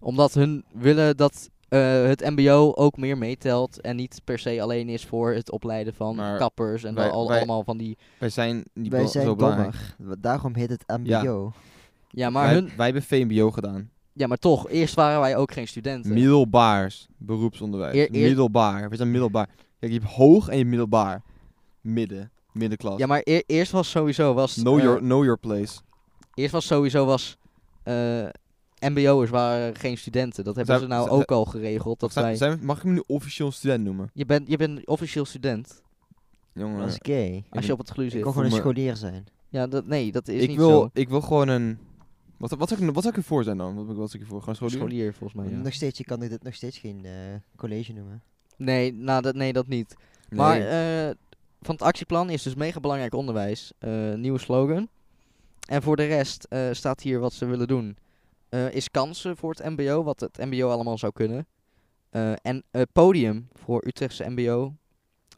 Omdat hun willen dat eh, het mbo ook meer meetelt en niet per se alleen is voor het opleiden van
Maar
kappers en
wij-
al,
wij-
allemaal van die...
wij zijn niet
Wij
bel-
zijn
zo belangrijk.
dommer. Wa- Daarom heet het MBO.
Ja maar,
wij,
hun,
wij hebben VMBO gedaan.
ja, maar toch, eerst waren wij ook geen studenten.
Middelbaars beroepsonderwijs.
Eer- eer-
Middelbaar. We zijn middelbaar. Kijk, je hebt hoog en je hebt middelbaar. Midden. Middenklas.
ja, maar eer- eerst was sowieso was.
know,
eh,
your, know your place.
Eerst was sowieso was. eh, MBO'ers waren geen studenten. Dat hebben
Zijn-
ze nou
zijn-
ook al geregeld. Dat
Zijn-
wij,
zijn we- mag ik me nu officieel student noemen?
je, bent, je bent officieel student.
Jongen.
Dat is gay.
Als je op het glu
Ik
zit.
kan gewoon een
me-
scholier zijn.
Ja, dat, nee, dat is
ik
niet
wil,
zo.
ik wil gewoon een. Wat, wat, zou ik, wat zou ik ervoor zijn dan? Wat, wat zou ik ervoor? Gewoon scholier?
Scholier volgens mij. ja.
Nog steeds, je kan dit nog steeds geen eh, college noemen.
Nee, nou, dat, nee, dat niet.
Nee.
Maar eh, van het actieplan is dus mega belangrijk onderwijs. eh, nieuwe slogan. En voor de rest eh, staat hier wat ze willen doen. Eh, is kansen voor het mbo, wat het mbo allemaal zou kunnen. Eh, en eh, podium voor Utrechtse mbo.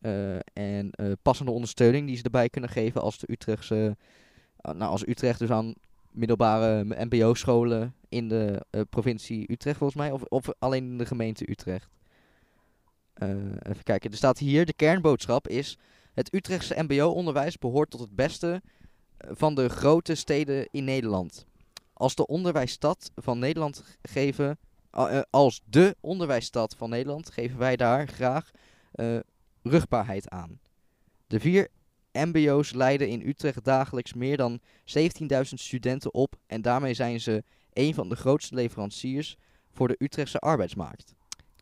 Eh, en eh, passende ondersteuning die ze erbij kunnen geven als de Utrechtse... ah, nou, als Utrecht dus aan middelbare eh, mbo-scholen in de eh, provincie Utrecht volgens mij. Of, of alleen in de gemeente Utrecht. Eh, even kijken, er staat hier, de kernboodschap is... Het Utrechtse mbo-onderwijs behoort tot het beste eh, van de grote steden in Nederland. Als de onderwijsstad van Nederland g- geven... a- eh, als de onderwijsstad van Nederland geven wij daar graag eh, rugbaarheid aan. De vier mbo's leiden in Utrecht dagelijks meer dan 17.000 studenten op... en daarmee zijn ze een van de grootste leveranciers voor de Utrechtse arbeidsmarkt.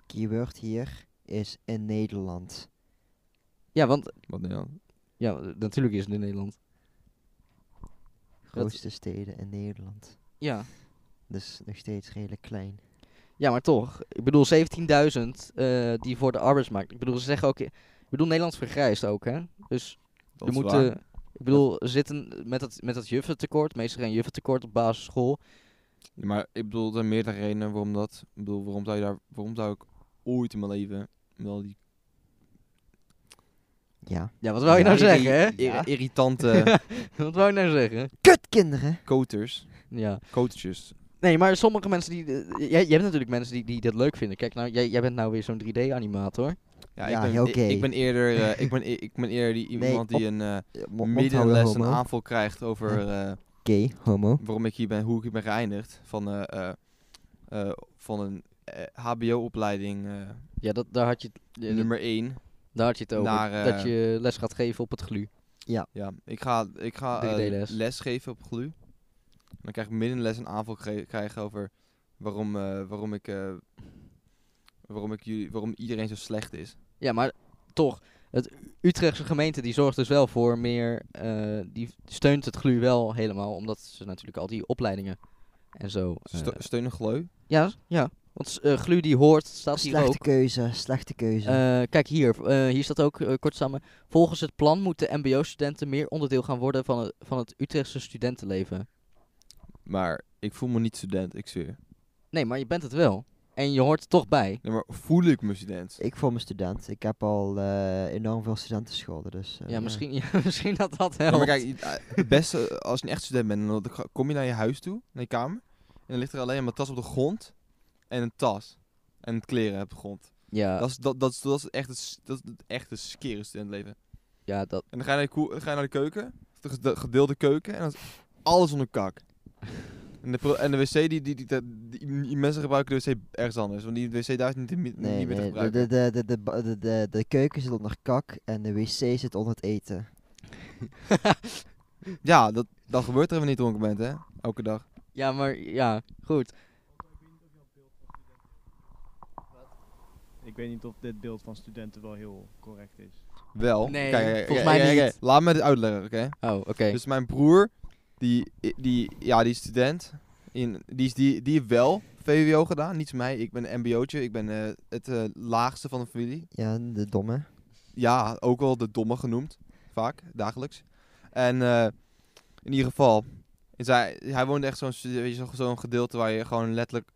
Keyword hier is in Nederland.
Ja, want
Wat nee dan?
Ja, eh, natuurlijk is het in Nederland.
Grootste steden in Nederland.
Ja.
Dus nog steeds redelijk klein.
ja, maar toch. Ik bedoel, 17.000 eh, die voor de arbeidsmarkt. Ik bedoel, ze zeggen ook. Ik bedoel, Nederland vergrijst ook, hè? Dus
Dat
er
is
moeten.
waar.
Ik bedoel, er zitten met dat, met dat juffentekort. Meestal geen juffentekort op basisschool.
Maar ik bedoel, er zijn meerdere redenen waarom dat. Ik bedoel, waarom zou, je daar, waarom zou ik ooit in mijn leven met al die
Ja.
Ja, wat wou je nou
Ja,
zeggen, hè?
irri- irri- irritante
*laughs* wat wou je nou zeggen?
Kutkinderen!
koters,
Ja.
coaches.
Nee, maar sommige mensen die. eh, jij, je hebt natuurlijk mensen die, die dit leuk vinden. Kijk, nou, jij, jij bent nou weer zo'n 3D-animator.
Ja,
Ja,
ik, ben,
heel
ik,
gay.
ik ben eerder, eh, ik, ben, e- ik ben eerder die,
Nee,
iemand die een eh
Eh, mo- Mondhouden,
middenles een
homo.
aanval krijgt
*laughs*
over eh,
Gay, homo.
waarom ik hier ben, hoe ik hier ben geëindigd. Van, eh, eh, eh, van een eh, HBO-opleiding
Ja, dat, daar, had je, het- ja, dat-
eh, nummer 1.
daar had je het over.
Mm. Naar, eh,
dat je les gaat geven op het glu.
Ja, ik ga, ik ga eh,
3D-les.
les geven op GLU. En dan krijg ik midden in de les een aanval kre- krijgen over waarom, eh, waarom ik... eh, Waarom, ik jullie, waarom iedereen zo slecht is.
Ja, maar toch. Het Utrechtse gemeente die zorgt dus wel voor meer. eh, die steunt het GLU wel helemaal. Omdat ze natuurlijk al die opleidingen en zo. eh,
Sto- steun een gleu.
ja, ja. Want eh, GLU die hoort, staat hier
Slechte
ook.
keuze, slechte keuze.
Eh, kijk hier, eh, hier staat ook eh, kort samen. Volgens het plan moeten MBO-studenten meer onderdeel gaan worden van het, van het Utrechtse studentenleven.
Maar ik voel me niet student, ik zweer.
Nee, maar je bent het wel. En je hoort er toch bij.
Nee, maar voel ik me student?
ik voor mijn student. Ik heb al eh, enorm veel studentenscholen, dus... eh,
Ja, misschien, ja, *laughs* misschien dat dat helpt.
Ja, maar kijk, je- eh, het beste eh, als je een echt student bent, dan ga- kom je naar je huis toe, naar je kamer. En dan ligt er alleen maar een tas op de grond en een tas. En kleren op de grond.
ja,
Dat is, dat, dat, is, dat is echt het, s- dat is het echte skere studentleven.
ja, dat,
En dan ga je naar de, koe- dan ga je naar de keuken, de gede- gedeelde keuken, en dan is alles onder kak. En de, pro- en de wc, die, die, die, die, die- die mensen gebruiken de wc ergens anders, want die wc daar is niet, niet
Nee,
meer te
nee, de,
gebruiken.
de, de, de, de, ba- de, de, de keuken zit onder kak en de wc zit onder het eten.
Ja, dat, dat gebeurt er even niet dronken bent, hè? Elke dag.
Ja, maar ja, goed.
Ik weet niet of dit beeld van studenten wel heel correct is.
Wel.
Nee,
Kijk, eh, kijk,
volgens mij
kijk, kijk, kijk,
niet.
kijk. Laat me dit uitleggen, oké?
Oh, oké.
Dus mijn broer, die, die, ja, die is student. In, die, is, die, die heeft wel VWO gedaan, niet mij. Ik ben een mbo'tje, ik ben eh, het eh, laagste van de familie.
Ja, de domme.
Ja, ook wel de domme genoemd. Vaak, dagelijks. En eh, in ieder geval, is hij, hij woont echt zo'n stu- weet je, zo- zo'n gedeelte waar je gewoon letterlijk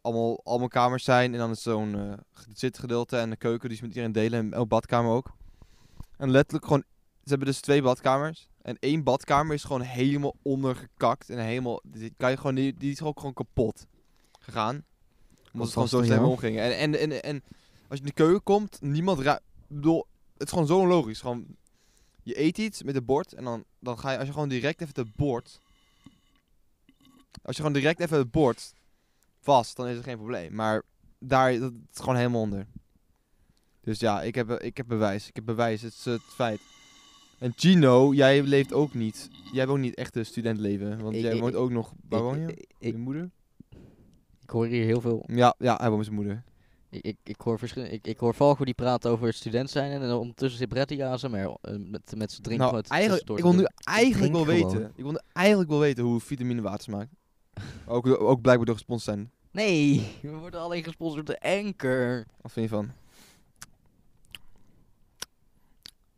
allemaal, allemaal kamers zijn. En dan is zo'n eh, ge- zitgedeelte en de keuken die ze met iedereen delen. En ook badkamer ook. En letterlijk gewoon, ze hebben dus twee badkamers. En één badkamer is gewoon helemaal ondergekakt. En helemaal, die, kan je gewoon, die, die is ook gewoon kapot gegaan. Omdat ze gewoon zo
Fantastisch,
snel
ja.
omgingen. En, en, en, en als je in de keuken komt, niemand ruikt. Ik bedoel, het is gewoon zo onlogisch. Gewoon, je eet iets met het bord en dan, dan ga je, als je gewoon direct even het bord Als je gewoon direct even het bord vast, dan is het geen probleem. Maar daar, dat het is gewoon helemaal onder. Dus ja, ik heb, ik heb bewijs. Ik heb bewijs. Het is eh, het feit. En Gino, jij leeft ook niet. Jij hebt ook niet echt een studentleven. Want
Ik-
jij
ik-
woont ook nog... Waar woon je?
Ik,
Je
ik,
moeder?
ik hoor hier heel veel.
Ja, ja, hij woont met zijn moeder.
Ik, ik, ik hoor, verschil- ik, ik hoor Valko die praat over het student zijn. En ondertussen zit Bretti ASMR eh, met, met zijn drinken.
nou,
wat
eigenlijk,
tussendoor te
ik wil nu
doen.
eigenlijk wel
drink gewoon.
weten. Ik wil nu eigenlijk wel weten hoe vitamine water
*laughs*
smaakt. ook, ook blijkbaar door gesponsord zijn.
Nee, *laughs* we worden alleen gesponsord door Anker.
Wat vind je van?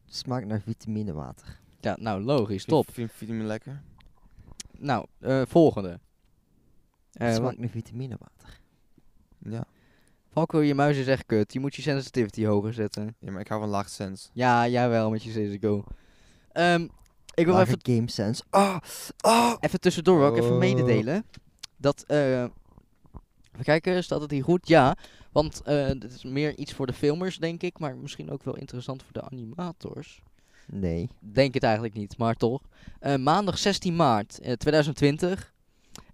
Smaakt naar vitaminewater.
Ja, nou logisch, top.
Vind je vitamine lekker?
Nou, eh, volgende. Eh,
smaakt
want
naar vitaminewater.
Ja.
Valko, je muis is echt kut. Je moet je sensitivity hoger zetten.
ja, maar ik hou van laag sens.
Ja, jawel, met je CSGO. Ehm, ik wil
Lage
even,
Game Sense. Ah, ah.
even tussendoor ook even
Oh.
mededelen. Dat, eh... Even kijken, staat het hier goed? Ja, want eh, dit is meer iets voor de filmers, denk ik. Maar misschien ook wel interessant voor de animators.
Nee.
Denk het eigenlijk niet, maar toch. Eh, maandag 16 maart eh, 2020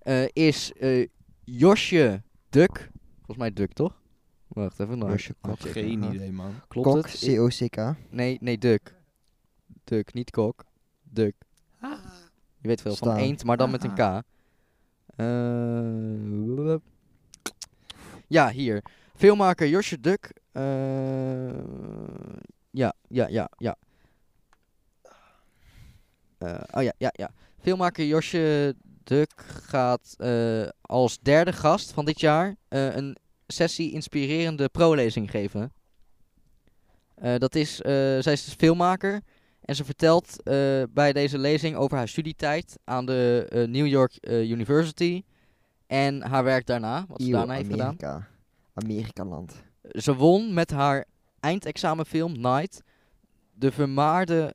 eh, is eh, Josje Duk. Volgens mij Duk, toch? Wacht even. Nou,
Josje
nou,
Kok.
check.
Geen idee, man.
Klopt
Kok,
het? I-
C-O-C-K.
nee, nee, Duk. Duk, niet Kok. Duk. Je weet veel van
Staan.
eend, maar dan met een K. Eh, blub. ja, hier. Filmmaker Josje Duk. eh, ja, ja, ja, ja. Eh, oh ja, ja, ja. Filmmaker Josje Duk gaat eh, als derde gast van dit jaar eh, een sessie inspirerende prolezing geven. Eh, dat is, eh, zij is dus filmmaker en ze vertelt eh, bij deze lezing over haar studietijd aan de eh, New York eh, University en haar werk daarna, wat ze
Eeuw,
daarna heeft gedaan.
Amerika. Amerikaland.
Ze won met haar eindexamenfilm Night de vermaarde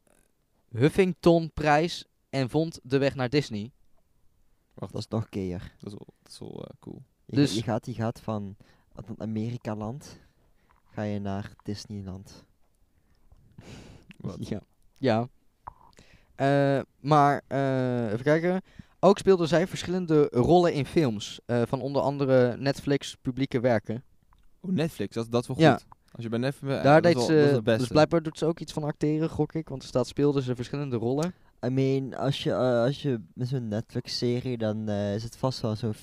Huffington-prijs en vond de weg naar Disney.
Wacht,
Dat is nog keer.
dat is wel, dat is wel eh, cool.
Je,
Dus-
je, gaat, je gaat van van Amerikaland ga je naar Disneyland.
Wat?
Ja. ja. Eh, maar, eh, even kijken. Ook speelde zij verschillende rollen in films. eh, van onder andere Netflix publieke werken.
Oh, Netflix, dat, dat is wel goed.
Ja.
Als je bij Netflix... eh,
Daar
dat is
deed ze...
wel- dat is het beste.
dus blijkbaar doet ze ook iets van acteren, gok ik. Want er staat speelde ze verschillende rollen.
I mean, als je, eh, als je met zo'n Netflix-serie, dan eh, is het vast wel zo'n 50-50.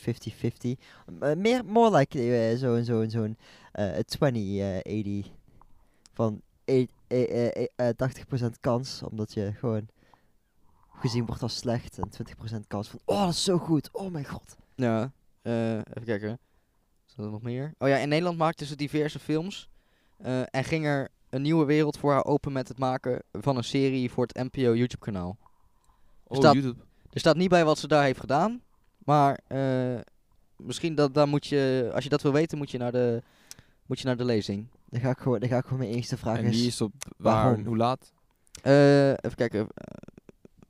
Eh, meer, more like eh, zo'n zo'n zo'n eh, 20-80. van e- e- eh, eh, eh, 80% kans, omdat je gewoon gezien wordt als slecht. En 20% kans van, oh, dat is zo goed. Oh mijn god.
Ja. eh, even kijken. Is er nog meer? Oh ja, in Nederland maakte ze diverse films. eh, en ging er een nieuwe wereld voor haar open met het maken van een serie voor het NPO YouTube kanaal.
Oh,
staat-
YouTube.
Er staat niet bij wat ze daar heeft gedaan. Maar eh, misschien dat daar moet je, als je dat wil weten, moet je naar de, moet je naar de lezing.
Dan ga ik gewoon, dan ga ik gewoon mijn eerste vraag
En die
eens...
is op... Waar?
waarom?
Hoe laat?
Eh, even kijken. eh,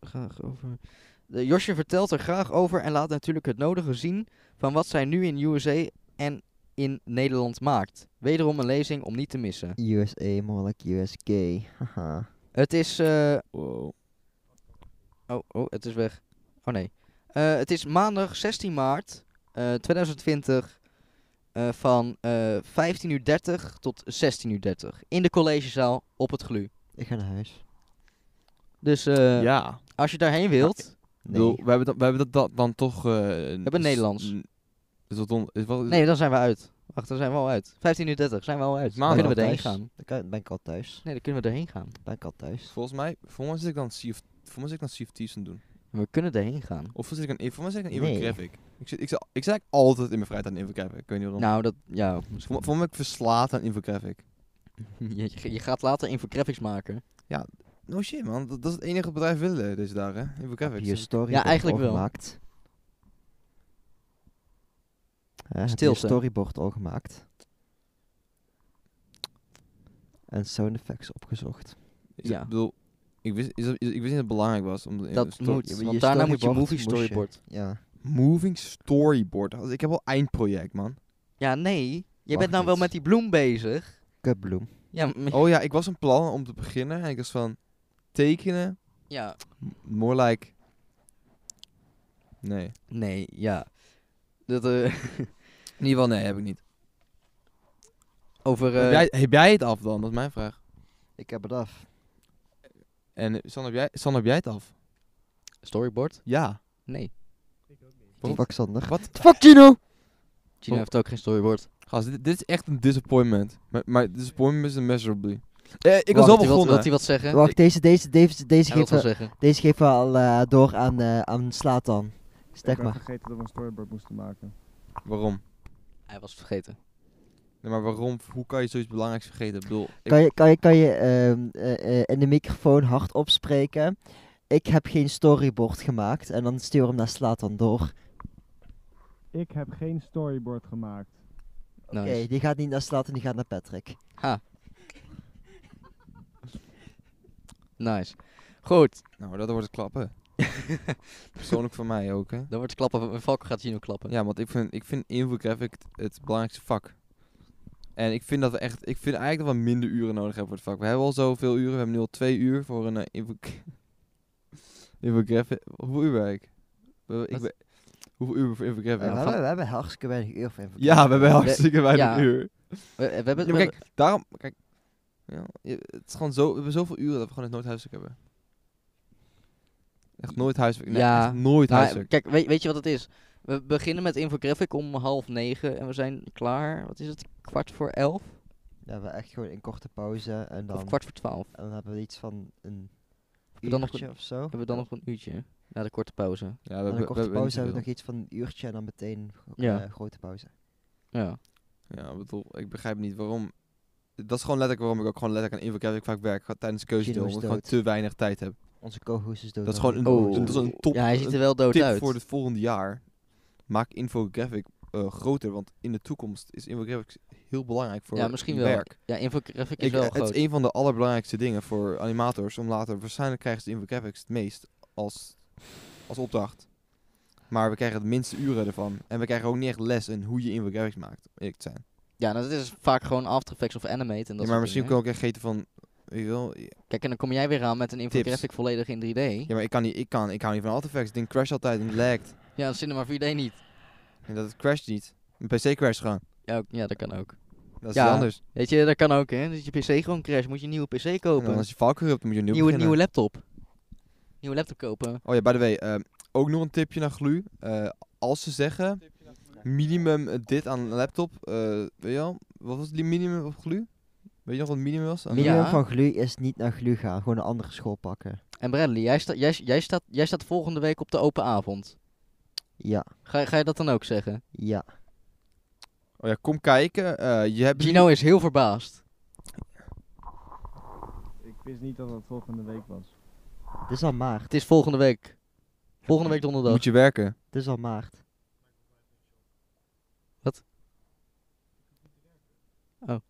graag over. De Josje vertelt er graag over en laat natuurlijk het nodige zien van wat zij nu in USA en in Nederland maakt. Wederom een lezing om niet te missen.
USA, more like USK. Haha.
Het is. eh,
Wow.
Oh, oh, het is weg. Oh nee. Eh, het is maandag 16 maart eh, 2020 eh, van eh 15.30 tot 16.30 in de collegezaal op het GLU.
Ik ga naar huis.
Dus eh,
ja.
als je daarheen wilt.
Ik
Nee.
bedoel, we hebben dat, we hebben dat, dat dan toch... eh, een
hebben
s-
Nederlands.
n- Is dat on, is wat,
Nee, dan zijn we uit. Wacht, dan zijn we al uit. 15.30 zijn we al uit. Dan kunnen
Maandag
we erheen
thuis.
gaan.
Dan kan- ben ik al thuis.
Nee, dan kunnen we erheen gaan.
Ben ik al thuis.
Volgens mij... Volgens mij zit ik dan Sea of... Volgens mij zit ik dan Sea of Thieves aan het doen.
We kunnen erheen gaan.
Of zit ik aan... Volgens mij zit ik aan Evil
Nee.
Graphic. Ik zit, ik, zit, ik zit eigenlijk altijd in mijn vrijheid aan Evil Graphic. Ik weet niet waarom.
Nou, dat... Ja, *laughs* misschien-
Volgens mij ben ik verslaat aan Evil Graphic.
je, je- je gaat later infographics maken.
No shit, man. Dat, dat is het enige bedrijf willen deze dagen. hè. Evil
Heb je je
Graphics.
storyboard
Ja, eigenlijk
al
wel.
gemaakt? Hè, heb je je
Stilte.
storyboard al gemaakt? En sound effects opgezocht.
Is-
Ja.
Ik bedoel, ik wist, is, dat- is- ik wist niet dat het belangrijk was. Om, in-
Dat
sto-
moet,
je-
want
je
daarna moet je
storyboard
movie
moest je.
storyboard.
Ja.
Moving storyboard. Als- Ik heb al eindproject, man.
Ja, nee. Je bent
Wacht
nou wel
eens.
met die bloem bezig.
Kutbloem.
Ja, m-
Oh ja, ik was een plan om te beginnen. En ik was van tekenen.
ja.
More like Nee.
Nee, ja. Dat, eh, *laughs*
In ieder geval, nee, heb ik niet.
over... eh,
heb, jij, heb jij het af dan? Dat is mijn vraag.
Ik heb het af.
En eh, San, heb jij, San, heb jij het af?
Storyboard?
Ja.
Nee.
Waarom?
Fuck Sander.
Wat?
Fuck Gino!
Gino
Oh.
heeft ook geen storyboard.
Gast, dit, dit is echt een disappointment. Maar, maar disappointment is immeasurably. Eh, ik was
Wacht, hij
al
wil-
begonnen.
Wil hij wat zeggen?
Wacht, deze, deze, deze, deze,
Hij wil wat
geeft wel,
zeggen.
deze geeft wel eh, door aan, eh aan Slatan. Stek
ik ben
maar.
vergeten dat we een storyboard moesten maken.
Waarom?
Hij was het vergeten.
Nee, maar waarom? Hoe kan je zoiets belangrijks vergeten? Ik bedoel, ik-
Kan je, kan je, kan je ehm, eh, eh, in de microfoon hardop spreken? Ik heb geen storyboard gemaakt. En dan stuur hem naar Slatan door. Oké,
Ik heb geen storyboard gemaakt.
Nou, Nice.
die gaat niet naar Slatan, die gaat naar Patrick.
Ha. Nice. Goed.
Nou, dat wordt het
*laughs*
klappen. Persoonlijk voor mij ook, hè.
Dan wordt het klappen. van- Valko gaat Gino klappen.
Ja, want ik vind, ik vind infographic het, het belangrijkste vak. En ik vind dat we echt, ik vind eigenlijk dat we minder uren nodig hebben voor het vak. We hebben al zoveel uren, we hebben nu al twee uur voor een eh, info *laughs* infographic. Hoeveel uur werk? We- Ik
Wat?
ben, hoeveel uur voor infographic?
we,
gaan-
hebben, we hebben hartstikke weinig uur voor infographic.
ja, we hebben hartstikke weinig
nou, ja.
uur.
We, we hebben,
Ja,
we
maar
hebben-
kijk, daarom, kijk, ja, je- het is gewoon zo, we hebben zoveel uren dat we gewoon echt nooit huiswerk hebben. Echt nooit huiswerk. Nee,
Ja.
echt nooit
Nou,
huiswerk.
kijk, weet, weet je wat het is? We beginnen met infographic om half negen en we zijn klaar. Wat is het? Kwart voor elf?
Ja, we hebben echt gewoon een korte pauze. En dan,
Of kwart voor twaalf?
en dan hebben we iets van een
we dan nog
uurtje of zo.
Hebben we dan nog een uurtje? Na de korte pauze.
Ja, we
Na een
hebben- we
korte
hebben niet
pauze hebben we nog
zoveel.
iets van een uurtje en dan meteen
Ja.
eh, grote pauze.
Ja.
Ja, ik bedoel, ik begrijp niet waarom. Dat is gewoon letterlijk waarom ik ook gewoon letterlijk aan infographic vaak werk. ga- Tijdens keuzes
Gino
doen,
is
omdat ik gewoon
dood.
te weinig tijd heb.
Onze co-host is dood.
Dat is
aan
gewoon een,
Oh.
dat is een top
ja, hij ziet er wel dood
tip
uit.
voor het volgende jaar. Maak infographic eh, groter, want in de toekomst is infographic heel belangrijk voor
ja, misschien
je
wel.
werk.
Ja, infographic is
Ik,
wel
eh, het
groot.
is een van de allerbelangrijkste dingen voor animators om later. Waarschijnlijk krijgen ze infographics het meest als, als opdracht. Maar we krijgen het minste uren ervan. En we krijgen ook niet echt les in hoe je infographics maakt. om eerlijk te zijn.
Ja, nou, dat is vaak gewoon After Effects of Animate. En
Ja,
dat
maar
soort
misschien kan
dingen.
ik ook echt geten van. Weet je wel,
Kijk, en dan kom jij weer aan met een infographic volledig in 3D.
ja, maar ik kan niet. Ik, kan, ik hou niet van artifacts. Het ding crasht altijd en het lagt.
Ja, Cinema 4D niet.
En dat het crasht niet. Mijn PC crasht gewoon.
Ja, ook- ja, dat kan ook.
Dat is
Ja,
iets anders.
Weet je, dat kan ook, hè? Dat je PC gewoon crasht. Moet je een nieuwe PC
En
kopen.
dan als je Valkyrie hebt, dan moet je nieuw
nieuwe,
beginnen.
nieuwe laptop. Nieuwe laptop kopen.
Oh ja, by the way, ehm, ook nog een tipje naar Glu. Eh, als ze zeggen, minimum eh, dit aan een laptop, eh, weet je wel, wat was die minimum op Glu? Weet je nog wat het minimum was? Aan-
Min-
Minimum
Ja.
van glu is niet naar glu gaan, gewoon een andere school pakken.
En Bradley, jij, sta, jij, jij, staat, jij staat volgende week op de open avond.
Ja,
Ga, ga je dat dan ook zeggen?
ja.
Oh ja, kom kijken. eh, je hebt
Gino is heel verbaasd.
Ik wist niet dat dat volgende week was.
Het is al maart,
Het is volgende week. Volgende week donderdag.
moet je werken.
het is al maart.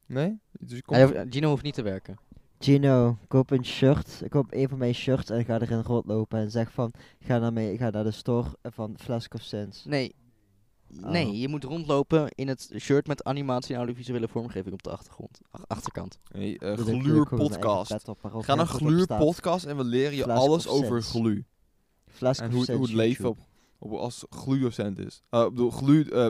Nee? Dus kom.
Hij hoeft- Gino hoeft niet te werken.
Gino, koop een shirt, koop een van mijn shirts en ga erin rondlopen en zeg van, ga naar, mij, ga naar de store van Flask of Sense.
Nee. Nee,
Oh.
je moet rondlopen in het shirt met animatie en audiovisuele vormgeving op de achtergrond. Ach- achterkant.
Nee, eh,
Dat is
gluur
natuurlijk gewoon mijn eigen
podcast.
pet op, waarop
Ga
heel
naar
goed op
Gluur
staat.
podcast en we leren je
Flask
alles
of
over
Sense.
Glu.
Flask
En
of
hoe, het-
Sense
hoe het leven op,
YouTube.
op, als Glu-docent is. Eh, Ik bedoel, Glu eh,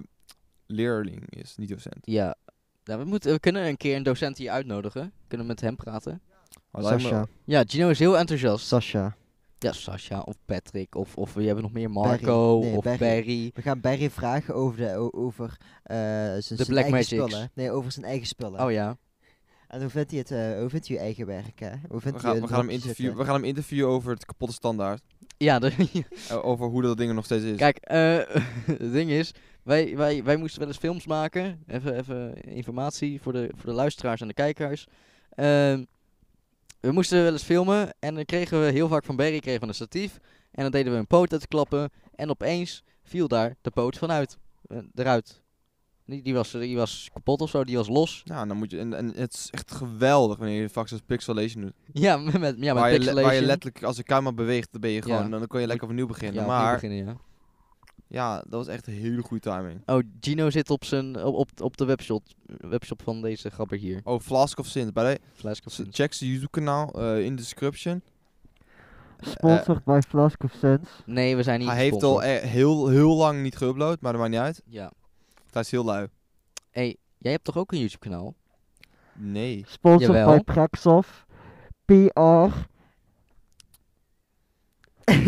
leerling is, niet docent.
Ja. Nou, we, moeten, we kunnen een keer een docent hier uitnodigen. Kunnen we met hem praten.
Maar lijkt me-
Sasha,
Ja, Gino is heel enthousiast.
Sasha.
Ja, Sasha of Patrick of, of we hebben nog meer Marco
Barry. Nee,
of
Barry.
Barry.
We gaan Barry vragen over, de, o- over eh, zijn, zijn
Black
eigen
Magics.
spullen. Nee, over zijn eigen spullen.
Oh ja.
En hoe vindt hij het, eh, hoe vindt hij je eigen werk, hè? Hoe vindt
We
hij
gaan, we,
het
gaan hem
om te
interviewen, we
zitten?
gaan hem interviewen over het kapotte standaard.
*laughs* Ja, de-
Eh, over hoe dat ding er nog steeds is.
Kijk, eh, *laughs* het ding is, wij, wij, wij moesten wel eens films maken. Even, even informatie voor de, voor de luisteraars en de kijkers. Ehm, we moesten wel eens filmen en dan kregen we heel vaak van Barry kregen we een statief. En dan deden we een poot uitklappen en opeens viel daar de poot vanuit. eh, eruit. Die, die, was, die was kapot of zo, die was los. *laughs*
Ja, Nou, dan moet je, en, en het is echt geweldig wanneer je vaak zo'n pixelation doet.
Ja, met, met- ja, met
waar, je, le- waar je
pixelation.
letterlijk, als de camera beweegt, dan ben je gewoon,
Ja.
dan kan je lekker opnieuw beginnen.
Ja, opnieuw
maar
beginnen, ja.
ja, dat was echt een hele goede timing.
Oh, Gino zit op, zijn, op, op, op de webshop, webshop van deze grapper hier.
Oh, Flask of Sint. Bij de,
Flask of Sins.
eh, check zijn YouTube kanaal in de description. Sponsored
Sponsored by Flask of Sense.
Nee, we zijn niet
Eh, Hij heeft al e-
gesponsord.
eh, heel, heel lang niet geüpload, maar dat maakt niet uit.
Ja.
Want Hij is heel lui.
hey, jij hebt toch ook een YouTube
*laughs*
kanaal?
Nee.
Sponsored
Jawel.
by Praxof. PR.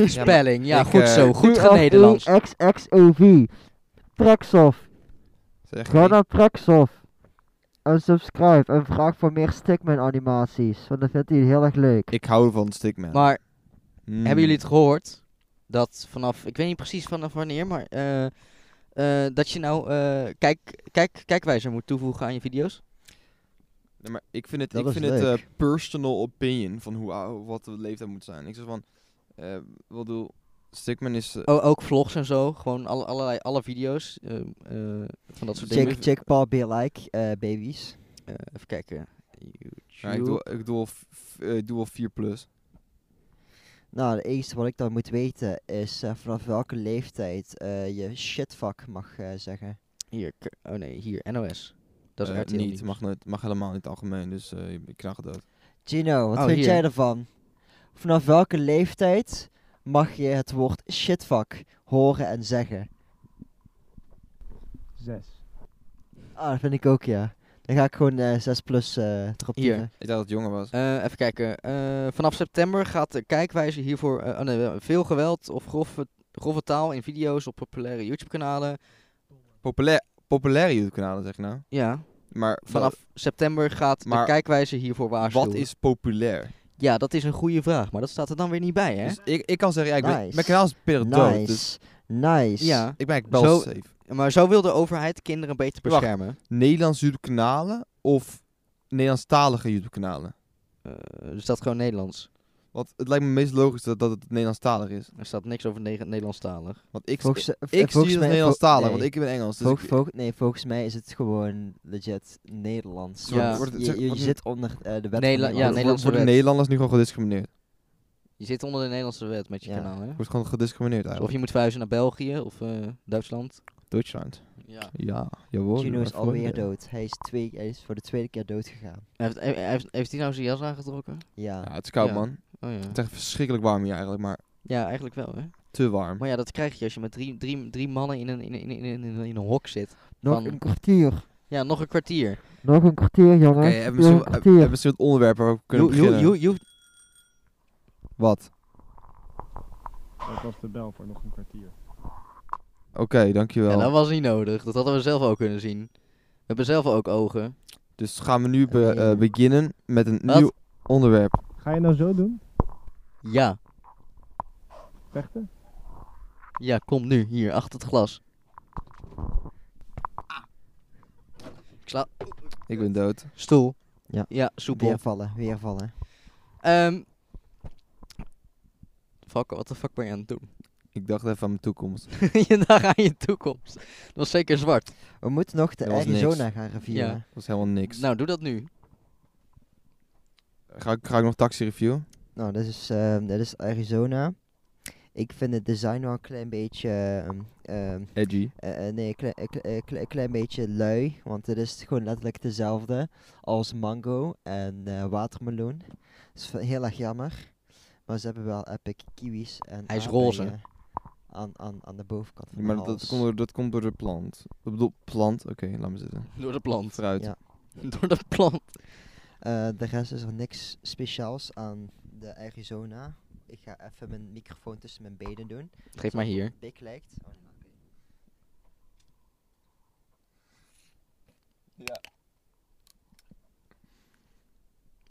Spelling, ja,
ik,
goed
eh,
zo. Goed genederlands.
E XXOV. Praxof.
Zeg
Ga
niet.
naar Praxof. En subscribe. En vraag voor meer Stickman animaties. Want dat vindt hij heel erg leuk.
Ik hou van Stickman.
Maar
Hmm.
hebben jullie het gehoord? Dat vanaf, ik weet niet precies vanaf wanneer, maar eh, eh, dat je nou eh, kijk, kijk, kijkwijzer moet toevoegen aan je video's.
Nee, maar ik vind het,
Dat
ik
is
vind het
leuk.
eh, personal opinion van hoe, ou- wat de leeftijd moet zijn. Ik zeg van, eh wat doe, Stickman is... eh,
O- ook vlogs en zo, gewoon alle, allerlei, alle video's eh, eh, van dat soort dingen.
Check, check, pa, be like, eh, babies.
Eh, even kijken.
ja, ik, doe, ik, doe al, v- v- eh, ik doe al 4 plus.
Nou, het enige wat ik dan moet weten is eh, vanaf welke leeftijd eh, je shitfuck mag eh, zeggen.
Hier, k- oh nee, hier, NOS. Dat is
Eh,
RTL
niet.
Nieuws.
Mag, nooit, mag helemaal niet algemeen, dus eh, je- ik krijg het dood.
Gino, wat
Oh,
vind
hier.
jij ervan? Vanaf welke leeftijd mag je het woord shitfuck horen en zeggen?
Zes.
Ah, dat vind ik ook, ja. Dan ga ik gewoon eh 6 plus eh erop
Hier.
typen.
Ik dacht dat het jonger was.
Eh, even kijken. eh, vanaf september gaat de kijkwijze hiervoor eh, oh nee, eh, veel geweld of grove, grove taal in video's op populaire YouTube-kanalen.
Populair, populaire YouTube-kanalen zeg je nou.
Ja,
Maar wa-
vanaf september gaat de
maar
kijkwijze hiervoor waarschuwen.
wat is populair?
Ja, dat is een goede vraag, maar dat staat er dan weer niet bij, hè?
Dus ik, ik kan zeggen, ja, ik ben-
Nice.
mijn kanaal is pittig dood. Dus
Nice. Nice.
Ja,
ik ben eigenlijk wel
Zo-
safe.
maar zo wil de overheid kinderen beter
Wacht.
beschermen.
Nederlands YouTube-kanalen of Nederlandstalige YouTube-kanalen?
Eh, er staat gewoon Nederlands.
Want het lijkt me het meest logisch dat, dat het Nederlandstalig is.
Er staat niks over Neg- Nederlandstalig.
Want ik,
Volgens, eh,
ik zie
volgens
het als
mij-
Nederlandstalig,
nee.
want ik ben Engels. Dus
Volg-
ik-
volg- nee, volgens mij is het gewoon legit Nederlands.
Ja.
Want
Wordt het-
je,
zeg-
je- je
wordt het-
zit onder eh, de
Nederla-
wet. van
ja,
Nederland.
Nederlandse
worden
wet.
Nederlanders nu gewoon gediscrimineerd?
Je zit onder de Nederlandse wet met je
Ja.
kanaal, hè?
Wordt gewoon gediscrimineerd
Of
eigenlijk.
je moet verhuizen naar België of eh, Duitsland.
Duitsland.
Ja.
Ja, jawel.
Gino is
maar voor-
alweer dood. Hij is, twee, hij is voor de tweede keer dood gegaan.
Heeft, heeft, heeft, heeft hij nou zijn jas aangetrokken?
Ja.
Ja, het is koud
Ja.
man.
Oh ja.
Het is echt verschrikkelijk warm hier eigenlijk, maar
Ja, eigenlijk wel, hè?
te warm.
Maar ja, dat krijg je als je met drie, drie, drie mannen in een, in, een- in, een- in, een- in een hok zit.
Nog
Van-
een kwartier.
Ja, nog een kwartier.
Nog een kwartier, jongens.
Oké,
Nog
hebben
een
we
kwartier.
hebben misschien wat onderwerpen waar we kunnen
Je- je-
beginnen?
je- je hoeft-
Wat?
Dat was de bel voor nog een kwartier.
Oké, dankjewel.
Ja, dat was niet nodig. Dat hadden we zelf ook kunnen zien. We hebben zelf ook ogen.
Dus gaan we nu be-
Oké.
eh, beginnen met een
Wat?
nieuw onderwerp.
Ga je nou zo doen?
Ja,
Vechten?
ja, kom nu, hier, achter het glas. Ik sla...
Ik ben dood.
Stoel.
Ja.
Ja, soepel.
Weer vallen, weer vallen.
Ehm. fuck, wat de fuck ben je aan het doen? *laughs*
Ik dacht even aan mijn toekomst.
je dacht aan je toekomst. Dat was zeker zwart.
We moeten nog de
Er was
Arizona gaan reviewen.
Ja.
Dat is helemaal niks.
Nou, doe dat nu.
Ga, ik, ga ik nog taxi review?
Nou, dat is, ehm, dat is Arizona. Ik vind het design wel een klein beetje... ehm, ehm,
Edgy.
Eh, eh, nee, een klein, een kle- een kle- een klein beetje lui, want het is gewoon letterlijk dezelfde als mango en eh, watermeloen. Dat is ve- heel erg jammer. Maar ze hebben wel epic kiwis en
Hij is roze.
aardbeien Aan, aan, aan de bovenkant van
Ja, maar
de
dat,
hals.
dat, komt door, dat komt door de plant. Ik bedoel, plant? Oké, laat me zitten.
Door de plant.
Fruit.
Ja.
*laughs* Door de plant.
Eh, de rest is er niks speciaals aan de Arizona. Ik ga even mijn microfoon tussen mijn benen doen.
Geef maar hier.
Pik lijkt. Oh, nee, oké.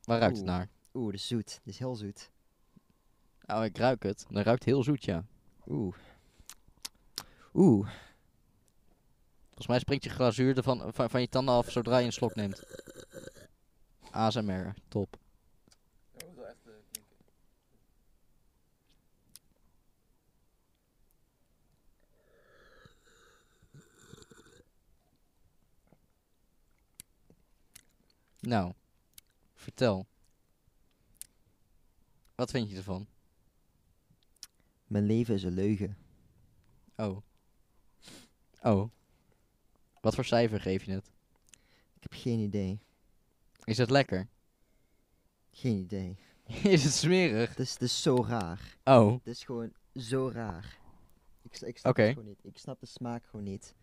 Waar ruikt het
Oeh.
naar?
Oeh, dat is zoet. Dit is heel zoet.
Oh, ik ruik het. Dat ruikt heel zoet, ja.
Oeh. Oeh.
Volgens mij springt je glazuur ervan, van, van je tanden af zodra je een slok neemt. ASMR, top. Nou, vertel. Wat vind je ervan?
Mijn leven is een leugen.
Oh. Oh. Wat voor cijfer geef je het?
Ik heb geen idee.
Is het lekker?
Geen idee.
*laughs* Is het smerig?
Het is, het is zo raar.
Oh.
Het is gewoon zo raar. Ik, s- ik snap
Oké.
het gewoon niet. Ik snap de smaak gewoon niet.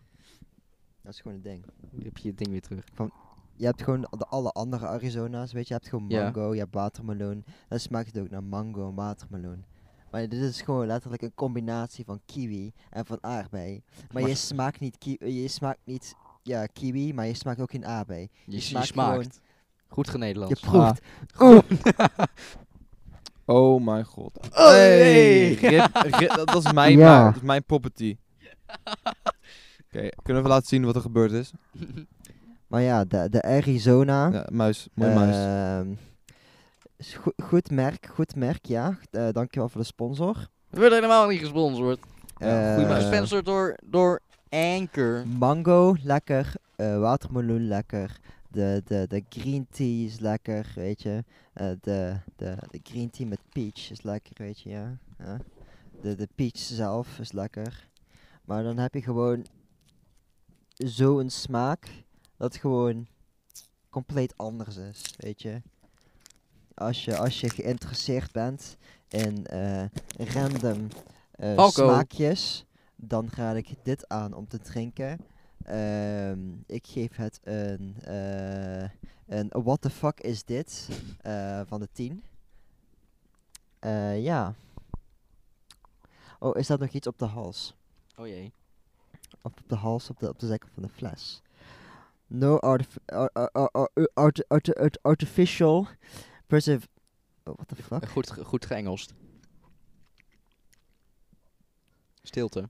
Dat is gewoon het ding.
Dan heb je het ding weer terug.
Je hebt gewoon de alle andere Arizona's, weet je. Je hebt gewoon
Ja.
mango, je hebt watermeloen. Dan smaakt het ook naar mango en watermeloen. Maar dit is gewoon letterlijk een combinatie van kiwi en van aardbei. Maar je smaakt niet, ki je smaakt niet ja, kiwi, maar je smaakt ook geen aardbei.
Je, je
smaakt
smaakt. Goed Ah.
Je
genederlands.
proeft.
Oh mijn god.
Oh, nee. *laughs*
Rip- rip- dat, dat is mijn,
Ja.
ma- dat is mijn property. Oké, kunnen we laten zien wat er gebeurd is?
Maar ja, de, de Arizona.
Ja, muis, mooie
Eh.
muis.
Ehm, is goe- goed merk, goed merk, ja. Eh dankjewel voor de sponsor.
We worden helemaal niet gesponsord.
Ja,
We
goeie
Eh, Mm.
worden gesponsord door, door Anchor.
Mango, lekker. Eh, watermeloen, lekker. De, de, de green tea is lekker, weet je. Eh, de, de, de green tea met peach is lekker, weet je, ja. Ja. De, de peach zelf is lekker. Maar dan heb je gewoon zo'n smaak dat gewoon compleet anders is, weet je. Als je, als je geïnteresseerd bent in eh, random eh,
Falco.
smaakjes, dan raad ik dit aan om te drinken. Ehm, ik geef het een, eh, een What the fuck is dit eh, van de 10. Eh, ja. Oh, is dat nog iets op de hals?
Oh jee.
Of op de hals, op de, op de zijkant van de fles. No artif ar- ar- ar- ar- arti- arti- arti- artificial preserv... Oh,
*laughs*
what the fuck?
Goed, ge- goed geëngelst. Stilte.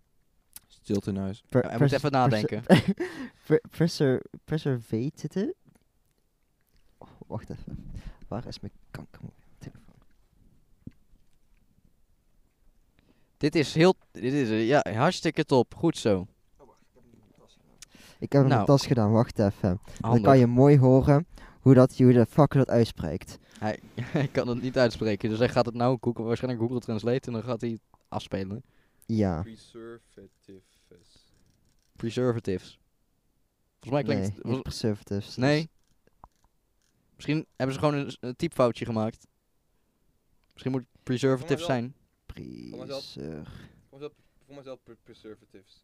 Stilte in huis.
Per-
Ja, hij moet
pres-
even
pres- *laughs*
nadenken.
pre- preser- Preservative? Oh, wacht even. Waar is mijn kankertelefoon?
Dit is heel... Dit is eh, ja, hartstikke top. Goed zo.
Ik heb hem in
Nou.
mijn tas gedaan, wacht even. Dan
Handig. *laughs*
kan je mooi horen hoe, dat, hoe de fuck dat uitspreekt.
Hij, hij kan het niet uitspreken. Dus hij gaat het nou Google, waarschijnlijk Google Translate en dan gaat hij het afspelen.
Ja.
Preservatives.
Preservatives. Volgens mij klinkt
Nee,
het...
niet
vol-
preservatives. dus-
Nee. Misschien hebben ze gewoon een, s- een typfoutje gemaakt. Misschien moet het preservative
Oh my
zijn.
Preser...
Voor mezelf preservatives.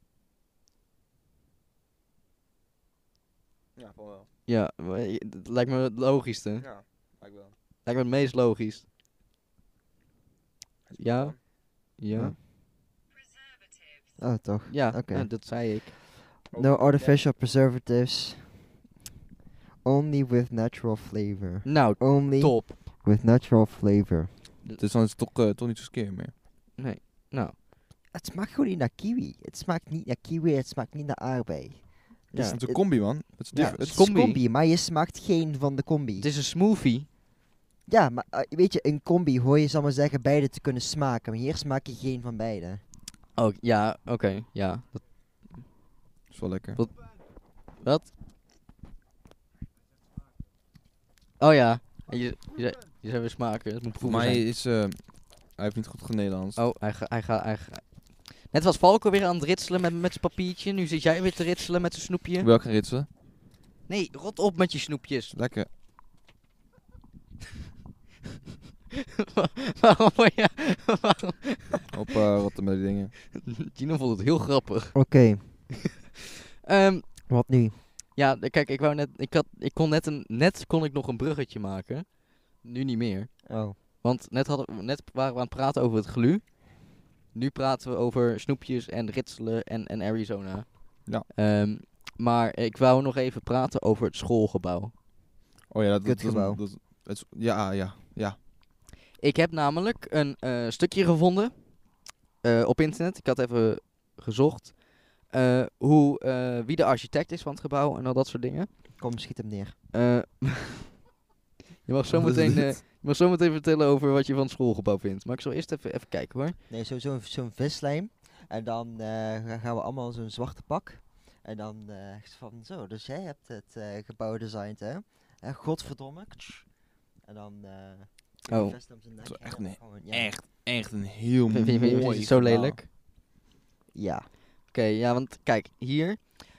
Ja, van wel.
Ja, maar je- dat lijkt me het logischste.
Ja, ik wel.
Lijkt me het meest logisch. Ja.
Ja.
Ja.
Oh, toch.
Ja,
Oké.
nou, dat zei ik.
No
Nou,
artificial preservatives. Only with natural flavor.
Nou,
Only
top.
with natural flavor.
Dus dan is het toch, eh, toch niet zo skeer meer.
Nee. Nou,
Het smaakt gewoon niet naar kiwi. Het smaakt niet naar kiwi, het smaakt niet naar aardbei.
Het is
Ja,
natuurlijk
het-
combi, man. Het is
ja,
diff-
het
het
is
is
combi.
combi, maar je smaakt geen van de combi.
het is een smoothie.
Ja, maar eh, weet je, in combi hoor je, zal maar zeggen, beide te kunnen smaken. Maar hier smaak je geen van beide.
Oh, ja, oké. ja. Dat,
is wel lekker.
wat? Oh ja. En Je, je, zei- je zei weer smaken. Het moet
Voor
proeven
mij
zijn.
is... eh, hij heeft niet goed ge- Nederlands.
Oh, hij gaat... Hij ga, hij ga. Net was Valko weer aan het ritselen met, met zijn papiertje. Nu zit jij weer te ritselen met zijn snoepje.
Welke ritsen?
Nee, rot op met je *laughs* snoepjes.
Lekker.
waarom word je... waarom-
Op eh wat met die dingen.
Gino vond het heel grappig.
Oké,
Ehm,
wat nu?
ja, d- kijk, ik wou net... Ik, had, ik kon net een... Net kon ik nog een bruggetje maken. Nu niet meer.
Oh,
Want net, hadden, we- net waren we aan het praten over het glu. Nu praten we over snoepjes en ritselen en, en Arizona.
Ja.
Ehm, maar ik wou nog even praten over het schoolgebouw.
Oh ja, dat, dat, dat,
Kutgebouw.
dat, het is- Ja, ja, ja.
Ik heb namelijk een eh, stukje gevonden eh, op internet. Ik had even gezocht eh, hoe, eh, wie de architect is van het gebouw en al dat soort dingen.
kom, schiet hem neer.
Eh, *laughs* je, mag zo
Wat is
meteen, eh,
dit?
je mag zo meteen vertellen over wat je van het schoolgebouw vindt. Maar ik zal eerst even, even kijken hoor.
Nee, zo- zo'n zo'n vislijm. En dan eh, ga- gaan we allemaal zo'n zwarte pak. En dan eh, van, zo, dus jij hebt het eh, gebouw designed, hè? Eh, godverdomme. Ktsch. En dan... eh
Oh.
vest om zijn nek
Dat is
en
echt
dan
niet-
gewoon, ja.
Echt, echt een
*laughs*
heel
Vind, vind, vind- vind je
mooi
het zo
gebouw.
lelijk? Oké,
Ja.
ja, want kijk, hier.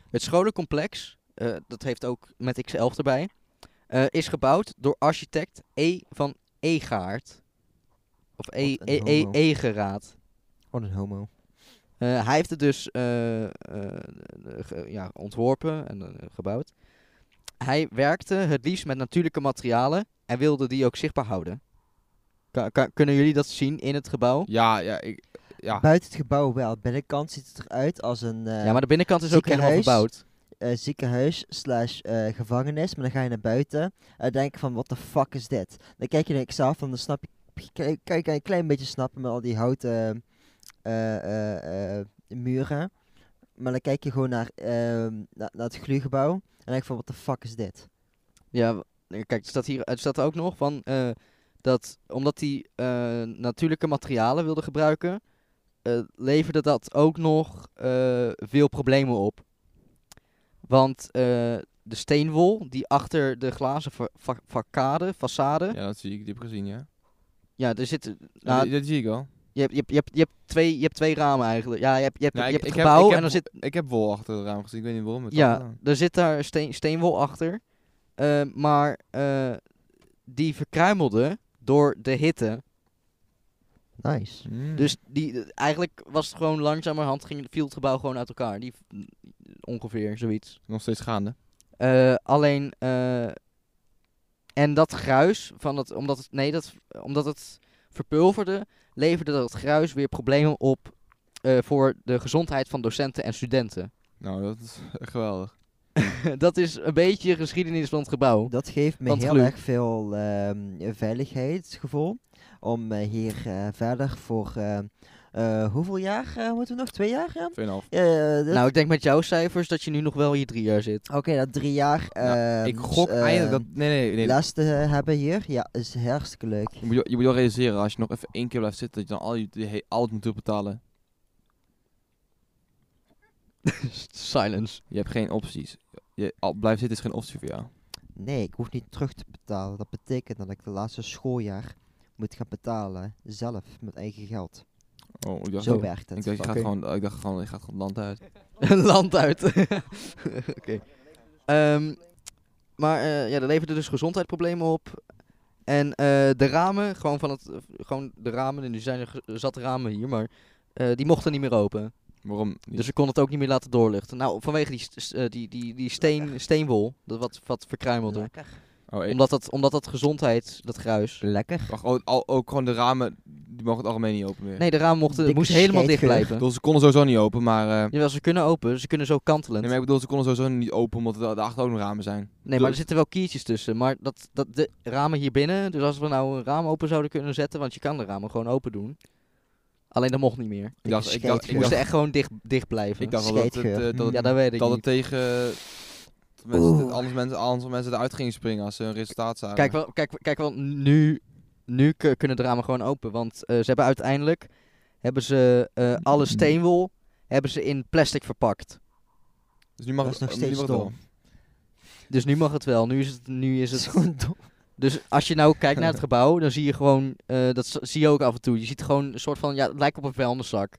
Het scholencomplex, eh, dat heeft ook met X11 erbij, eh, is gebouwd door architect E. van Egaard. Of e
Wat een
e e
homo.
Egeraad.
Wat een homo.
Eh, hij heeft het dus eh, eh, ge- ja, ontworpen en eh, gebouwd. Hij werkte het liefst met natuurlijke materialen en wilde die ook zichtbaar houden. Ka- ka- kunnen jullie dat zien in het gebouw?
Ja, ja, ik, ja.
Buiten het gebouw wel. Aan de binnenkant ziet het eruit als een eh,
ja, maar de binnenkant is ook helemaal
ziekenhuis.
verbouwd.
eh, ziekenhuis slash eh, gevangenis. Maar dan ga je naar buiten en denk je van, what the fuck is dit? Dan kijk je naar jezelf en dan snap je, kan- kan je een klein beetje snappen met al die houten eh, eh, eh, muren. Maar dan kijk je gewoon naar, ehm, na- naar het gluurgebouw en denk je van, what the fuck is dit?
Ja, w- eh, kijk, er staat hier er staat ook nog van eh, dat omdat hij eh, natuurlijke materialen wilde gebruiken, eh, leverde dat ook nog eh, veel problemen op. Want eh, de steenwol die achter de glazen fa fa- facade, façade, ja,
ja, dat zie ik. Die heb ik gezien, ja.
er zitten.
Ja,
Nou,
die- dat zie ik wel.
je, hebt, je, hebt, je, hebt, je hebt twee, je hebt twee ramen eigenlijk. Ja, je hebt, je hebt,
Ja,
je
Nou, ik-
hebt het
ik heb-
gebouw
ik heb
en er
wo-
zit
Ik heb wol achter het raam gezien. Ik weet niet waarom. het had
Ja,
gedaan.
er zit daar steen, steenwol achter. Eh, maar eh, die verkruimelde door de hitte.
Nice.
Mm.
Dus die, eh, eigenlijk was het gewoon langzamerhand, ging, viel het gebouw gewoon uit elkaar. Die, mm, ongeveer, zoiets.
Nog steeds gaande.
Eh, alleen, eh, en dat gruis, van dat, omdat, het, nee, dat, omdat het verpulverde, leverde dat gruis weer problemen op eh, voor de gezondheid van docenten en studenten. *laughs*
Nou, dat is geweldig.
dat is een beetje geschiedenis van het gebouw.
Dat geeft me
Want
heel
glu-
erg veel ehm, veiligheidsgevoel om eh, hier eh, verder voor eh, eh, hoeveel jaar eh, moeten we nog? Twee jaar? ja?
2,5.
Eh, dit-
Nou, ik denk met jouw cijfers dat je nu nog wel hier drie jaar zit.
Oké, dat drie jaar.
Ja,
ehm,
dus,
ik gok
eh,
eigenlijk dat... Nee, nee, nee.
les te hebben hier. Ja, is hartstikke leuk.
Je moet je, je moet wel realiseren, als je nog even één keer blijft zitten, dat je dan al je, die he- al het moet betalen.
*laughs* Silence. *laughs*
Je hebt geen opties. Je, al, blijven zitten is geen optie voor jou.
Nee, ik hoef niet terug te betalen. Dat betekent dat ik de laatste schooljaar moet gaan betalen zelf met eigen geld.
Oh, ik dacht,
Zo
ik
werkt het.
dacht, je gaat
Oké.
gewoon, ik dacht gewoon, je gaat gewoon het land uit.
Land
*laughs*
uit. Oké. Ehm, maar eh, ja, dat leverde dus gezondheidsproblemen op. En eh, de ramen, gewoon van het, gewoon de ramen, en nu zijn er ge- zat ramen hier, maar eh, die mochten niet meer open.
Waarom? niet?
Dus ik kon het ook niet meer laten doorlichten. Nou, vanwege die, st- st- eh, die, die, die steen, steenwol, dat wat, wat verkruimelde.
Lekker.
oh, eh,
Omdat dat, omdat dat gezondheid, dat gruis.
Lekker.
wacht, oh, al, ook gewoon de ramen, die mogen het algemeen niet open meer.
Nee, de ramen mochten, het
Dikke
moest helemaal dicht
scheidgeur.
blijven.
Ik bedoel, ze konden sowieso niet open, maar... eh,
Jawel, ze kunnen open, ze kunnen zo kantelend.
nee, maar ik bedoel, ze konden sowieso niet open, omdat er daarachter ook nog ramen zijn.
Nee, maar er
Dus-
zitten wel kiertjes tussen. Maar dat, dat de ramen hier binnen. Dus als we nou een raam open zouden kunnen zetten. Want je kan de ramen gewoon open doen. Alleen dat mocht niet meer.
Ik dacht,
Ze
ik dacht, ik
scheidgeur.
dacht,
moesten echt gewoon dicht, dicht blijven.
ik dacht wel dat het, eh,
Scheidgeur.
dat het,
ja, dat weet ik
dat het
niet.
tegen... dat mensen, dat
Oeh.
anders, mensen, anders mensen eruit gingen springen als ze een resultaat zagen.
Kijk wel, kijk, kijk wel nu, nu k- kunnen de ramen gewoon open. Want eh, ze hebben uiteindelijk. Hebben ze eh, alle steenwol. Hebben ze in plastic verpakt.
dus nu mag
dat is nog
het- nu
steeds
mag het wel.
dom.
Dus nu mag het wel. Nu is het. Nu is
*laughs*
*laughs* Dat is
het
gewoon dom.
Dus als je nou kijkt naar het gebouw, dan zie je gewoon, eh, dat z- zie je ook af en toe. Je ziet gewoon een soort van, ja, het lijkt op een vuilniszak.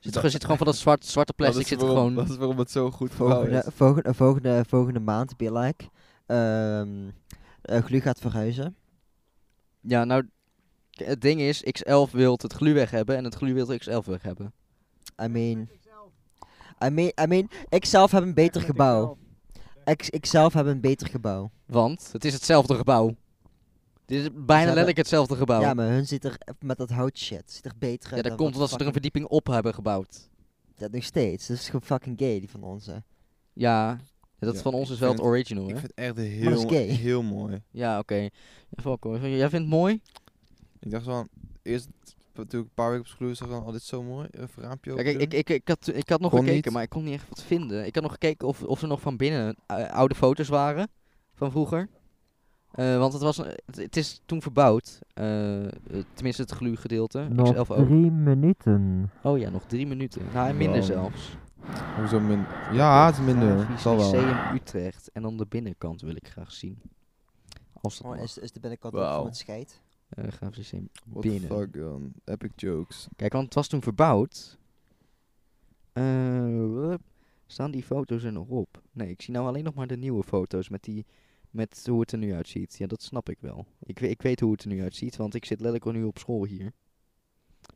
Zit, er zit gewoon van dat zwart, zwarte
Dat is
plastic, zit er
waarom-
gewoon.
Dat is waarom het zo goed gebouwd
Volgende,
is.
volgende, volgende, volgende maand, Bilek. Ehm eh, Glu gaat verhuizen.
Ja, nou, k- het ding is, X11 wil het glu weg hebben en het glu wil het X11 weg hebben.
I mean... I mean, I mean, ik zelf heb een beter gebouw. Ik, ik zelf heb een beter gebouw.
Want het is hetzelfde gebouw. Dit is bijna
hebben-
letterlijk hetzelfde gebouw.
Ja,
Ja,
maar hun zit er met dat houtshit. Zit er beter uit
dat
dan
komt
wat
omdat ze er een
fucking-
verdieping op hebben gebouwd.
Dat nog steeds. Dat is gewoon fucking gay, die van ons. hè.
Ja, dat
Ja,
van ons
ik
is wel het
vind-
original,
Ik
hè?
vind het echt
Maar dat
heel,
is gay.
heel mooi.
Ja, oké. Ja, fuck hoor. Jij vindt het mooi?
Ik dacht zo, eerst natuurlijk een paar weken op school was van, oh dit is zo mooi, even raampje
Ja, kijk, ik,
open.
ik, ik, had, ik had nog
Kon
gekeken,
niet.
maar ik kon niet echt wat vinden. Ik had nog gekeken of, of er nog van binnen eh, oude foto's waren van vroeger. Eh, want het, was, een- het, het is toen verbouwd. Eh, eh, tenminste, het gluurgedeelte.
Nog
X11 ook.
drie minuten.
Oh ja, nog drie minuten. Nou, en minder
Wow.
zelfs.
Hoezo minder? Ja, het is minder.
Grafisch
Zal wel.
Lyceum Utrecht. En dan de binnenkant wil ik graag zien. Als dat
Oh,
mag.
is, is de binnenkant ook
Wauw.
van het scheid?
Eh, Grafisch Lyceum.
What the
binnen.
fuck man, epic jokes.
Kijk, want het was toen verbouwd. Eh, wup. staan die foto's er nog op? Nee, ik zie nou alleen nog maar de nieuwe foto's met die, met hoe het er nu uitziet. Ja, dat snap ik wel. Ik, we- ik weet hoe het er nu uitziet, want ik zit letterlijk nu op school hier.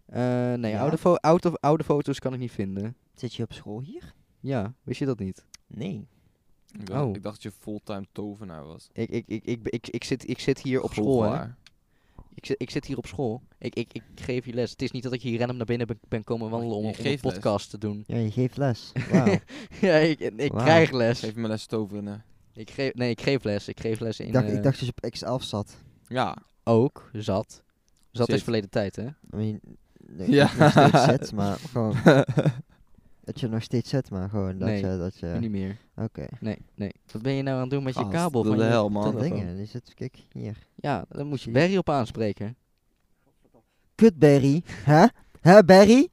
Eh, nee,
Ja?
oude, fo- oude, oude foto's kan ik niet vinden.
Zit je op school hier?
Ja, wist je dat niet?
Nee.
Ik dacht,
Oh.
ik dacht dat je fulltime tovenaar was.
Ik, ik, ik, ik, ik, ik, zit, ik zit hier op school, hè.
Goochelaar.
Ik zit, ik zit hier op school. Ik, ik, ik geef hier les. Het is niet dat ik hier random naar binnen ben, ben komen wandelen om,
Je
om een
geeft les.
podcast te doen.
Ja, je geeft les. *laughs* Wauw.
*laughs* ja, ik, ik
Wauw.
krijg les.
Geef me les toveren. hè.
Ik geef, nee, ik geef les. Ik geef les in...
ik, dacht,
eh,
ik dacht dat je op X11 zat.
Ja.
Ook, zat. Zat
Shit.
is verleden tijd, hè?
I mean, nee,
Ja.
dat je nog steeds
*laughs*
zit, maar gewoon... dat je nog steeds zit, maar gewoon dat
Nee,
je... Dat je
Niet meer.
Oké.
Nee, nee. Wat ben je nou aan het doen met je
Gast,
kabel?
doe
van
de
je
hel, man.
Dat
telefoon?
dingen, die zit, kijk, hier.
Ja, dan moet je Barry op aanspreken.
Kut, Barry. Hè? Hè, Barry?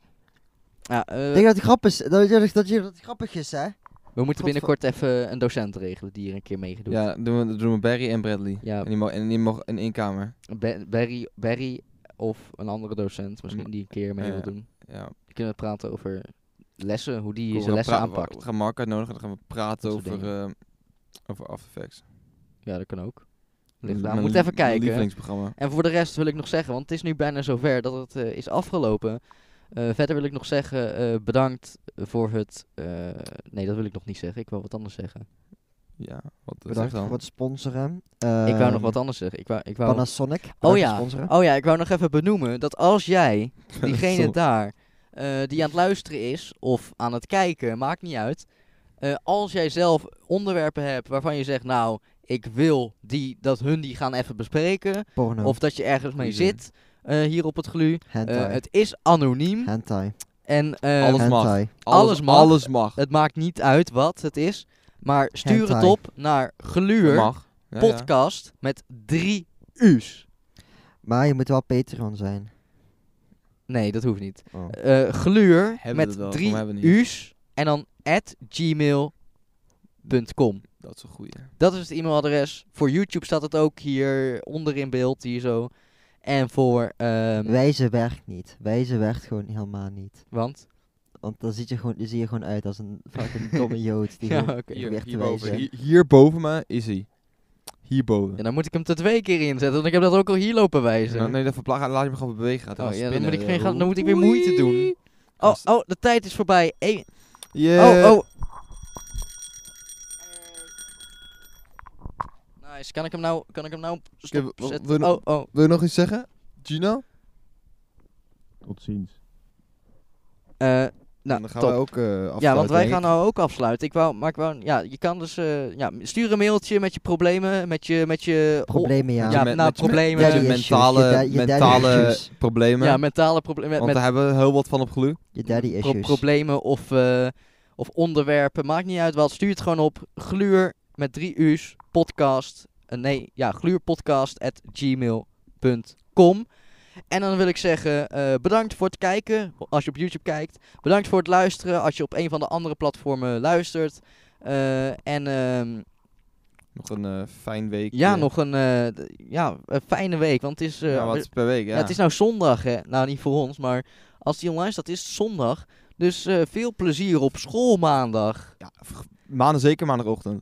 Ja, eh,
Denk dat het grappig is, dat je dat, je, dat het grappig is, hè?
we moeten
Godver-
binnenkort even een docent regelen die hier een keer meegedoet.
Ja, doen we, doen we Barry en Bradley.
Ja.
En die mo- en die mogen in één kamer.
Ba- Barry, Barry of een andere docent misschien die een keer mee
Mm. Ja.
wil doen.
Ja.
Dan kunnen we praten over lessen, hoe die
Cool, we
zijn
gaan
lessen
pra-
aanpakt.
We gaan Mark uitnodigen, dan gaan we praten
Dat soort
over, eh, over After Effects.
Ja, dat kan ook. Ligt
Mijn
eraan. We
li-
moeten even
mijn
kijken.
lievelingsprogramma.
En voor de rest wil ik nog zeggen, want het is nu bijna zover dat het eh, is afgelopen. Eh, verder wil ik nog zeggen, eh, bedankt voor het... eh, nee, dat wil ik nog niet zeggen. Ik wil wat anders zeggen.
Ja, wat eh, zeg
Bedankt
dan?
voor het sponsoren.
ik wou nog
Ehm,
wat anders zeggen. Ik wou, ik wou...
Panasonic. bedankt
ja.
voor Sponsoren.
Oh ja, ik wou nog even benoemen dat als jij, diegene
Sorry.
daar, eh, die aan het luisteren is of aan het kijken, maakt niet uit. eh, als jij zelf onderwerpen hebt waarvan je zegt, nou, ik wil die, dat hun die gaan even bespreken.
Porno.
Of dat je ergens mee
Goeie zin.
zit, eh, hier op het glu. Eh,
hentai.
het is anoniem
hentai.
en eh,
Alles- mag.
hentai.
alles mag.
Alles mag.
het maakt niet uit wat het is. Maar stuur het
Hentai.
op naar gluur
mag. Ja, ja.
podcast met drie u's.
Maar je moet wel Patreon zijn.
Nee, dat hoeft niet.
Oh.
eh gluur
we
met
dat wel?
drie
Waarom hebben we
u's en dan at gmail.com.
Dat is een goeie.
Dat is het e-mailadres. Voor YouTube staat het ook hier onder in beeld, hier zo. En voor, ehm,
Wijzen werkt niet. Wijzen werkt gewoon helemaal niet.
want?
Want dan zie je gewoon, dan zie je gewoon uit als een
*laughs*
fucking domme jood die
Ja,
gewoon
oké.
probeert
Hier,
te
hierboven.
wijzen.
Hier, hier boven me is hij. Hierboven.
Ja, dan moet ik hem er twee keer inzetten, want ik heb dat ook al hier lopen wijzen.
Nou, nee, dat verpla- laat je hem gewoon bewegen. Gaat hij
oh,
gaan
ja, dan, moet
spinnen.
ik geen, gaan-
Oeh.
dan moet ik weer moeite doen. Oh,
Gast.
oh, de tijd is voorbij. Eén-
Yeah.
Oh, oh. Nice, kan ik hem nou, kan ik hem nou
heb-
stop
wil-
zetten?
wil-
Oh, oh.
Wil je nog iets zeggen? Gino?
Tot ziens.
Eh,
En
nou,
dan gaan
top.
we ook eh afsluiten.
Ja, want wij
denk
gaan
ik.
nou ook afsluiten. Ik wou, maar ik wou, ja, je kan dus, eh, ja, stuur een mailtje met je problemen, met je, met je oh,
Problemen, ja.
Ja,
met-
nou,
met je-
problemen.
Met je
Daddy issues,
mentale,
je da- je daddy
mentale
issues.
problemen.
ja, mentale problemen, met,
want daar
met
hebben we heel wat van op glu.
Je daddy
pro-
issues.
problemen of, eh, of onderwerpen. Maakt niet uit wat. Stuur het gewoon op gluur met drie u's podcast. eh, nee, ja, gluurpodcast at gmail.com. En dan wil ik zeggen, eh, bedankt voor het kijken als je op YouTube kijkt. Bedankt voor het luisteren als je op een van de andere platformen luistert. Eh, en ehm,
Nog een eh, fijn week.
Ja,
eh,
nog een, eh, d- ja, een fijne week. Want het is, eh,
ja, wat
we-
is per week, ja.
ja, het is nou zondag. Hè. Nou, niet voor ons, maar als die online staat, is het zondag. Dus eh, veel plezier op school maandag.
Ja, v- maandag zeker maandagochtend.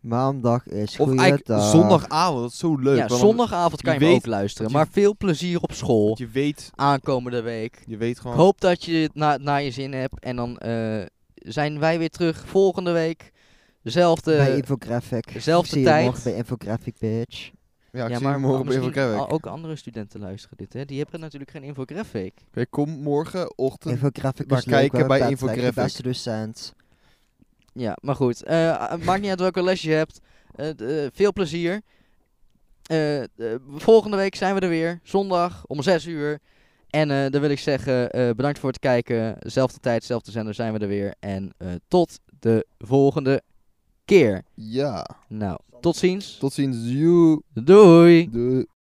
Maandag is
Of eigenlijk
goeiedag.
zondagavond, dat is zo leuk.
ja,
want dan-
zondagavond kan je,
je
hem
weet
ook luisteren.
dat je-
Maar veel plezier op school
Je weet,
aankomende week.
je weet
Ik
gewoon...
hoop dat je het na, naar je zin hebt. En dan eh, zijn wij weer terug volgende week. Zelfde.
eh,
bij Infographic.
dezelfde
Ik zie je
tijd.
morgen bij Infographic, bitch.
ja, ik
ja,
zie
maar
je morgen
maar
op Info
misschien oh.
Kerk.
a- ook andere studenten luisteren dit. Hè. Die hebben natuurlijk geen infographic.
Oké, kom morgenochtend.
Infographic
maar
is leuk,
kijken
we
bij
hebben Patrick, de
Infographic.
beste docent.
Ja, maar goed. Eh, a- maakt niet uit welke les je hebt. Eh, d- eh, veel plezier. Eh, eh, volgende week zijn we er weer. Zondag om 6 uur. En eh, dan wil ik zeggen, eh, bedankt voor het kijken. Zelfde tijd, zelfde zender zijn we er weer. En eh, tot de volgende keer.
Ja,
Nou, tot ziens.
tot ziens. Joe.
Doei.
Doei.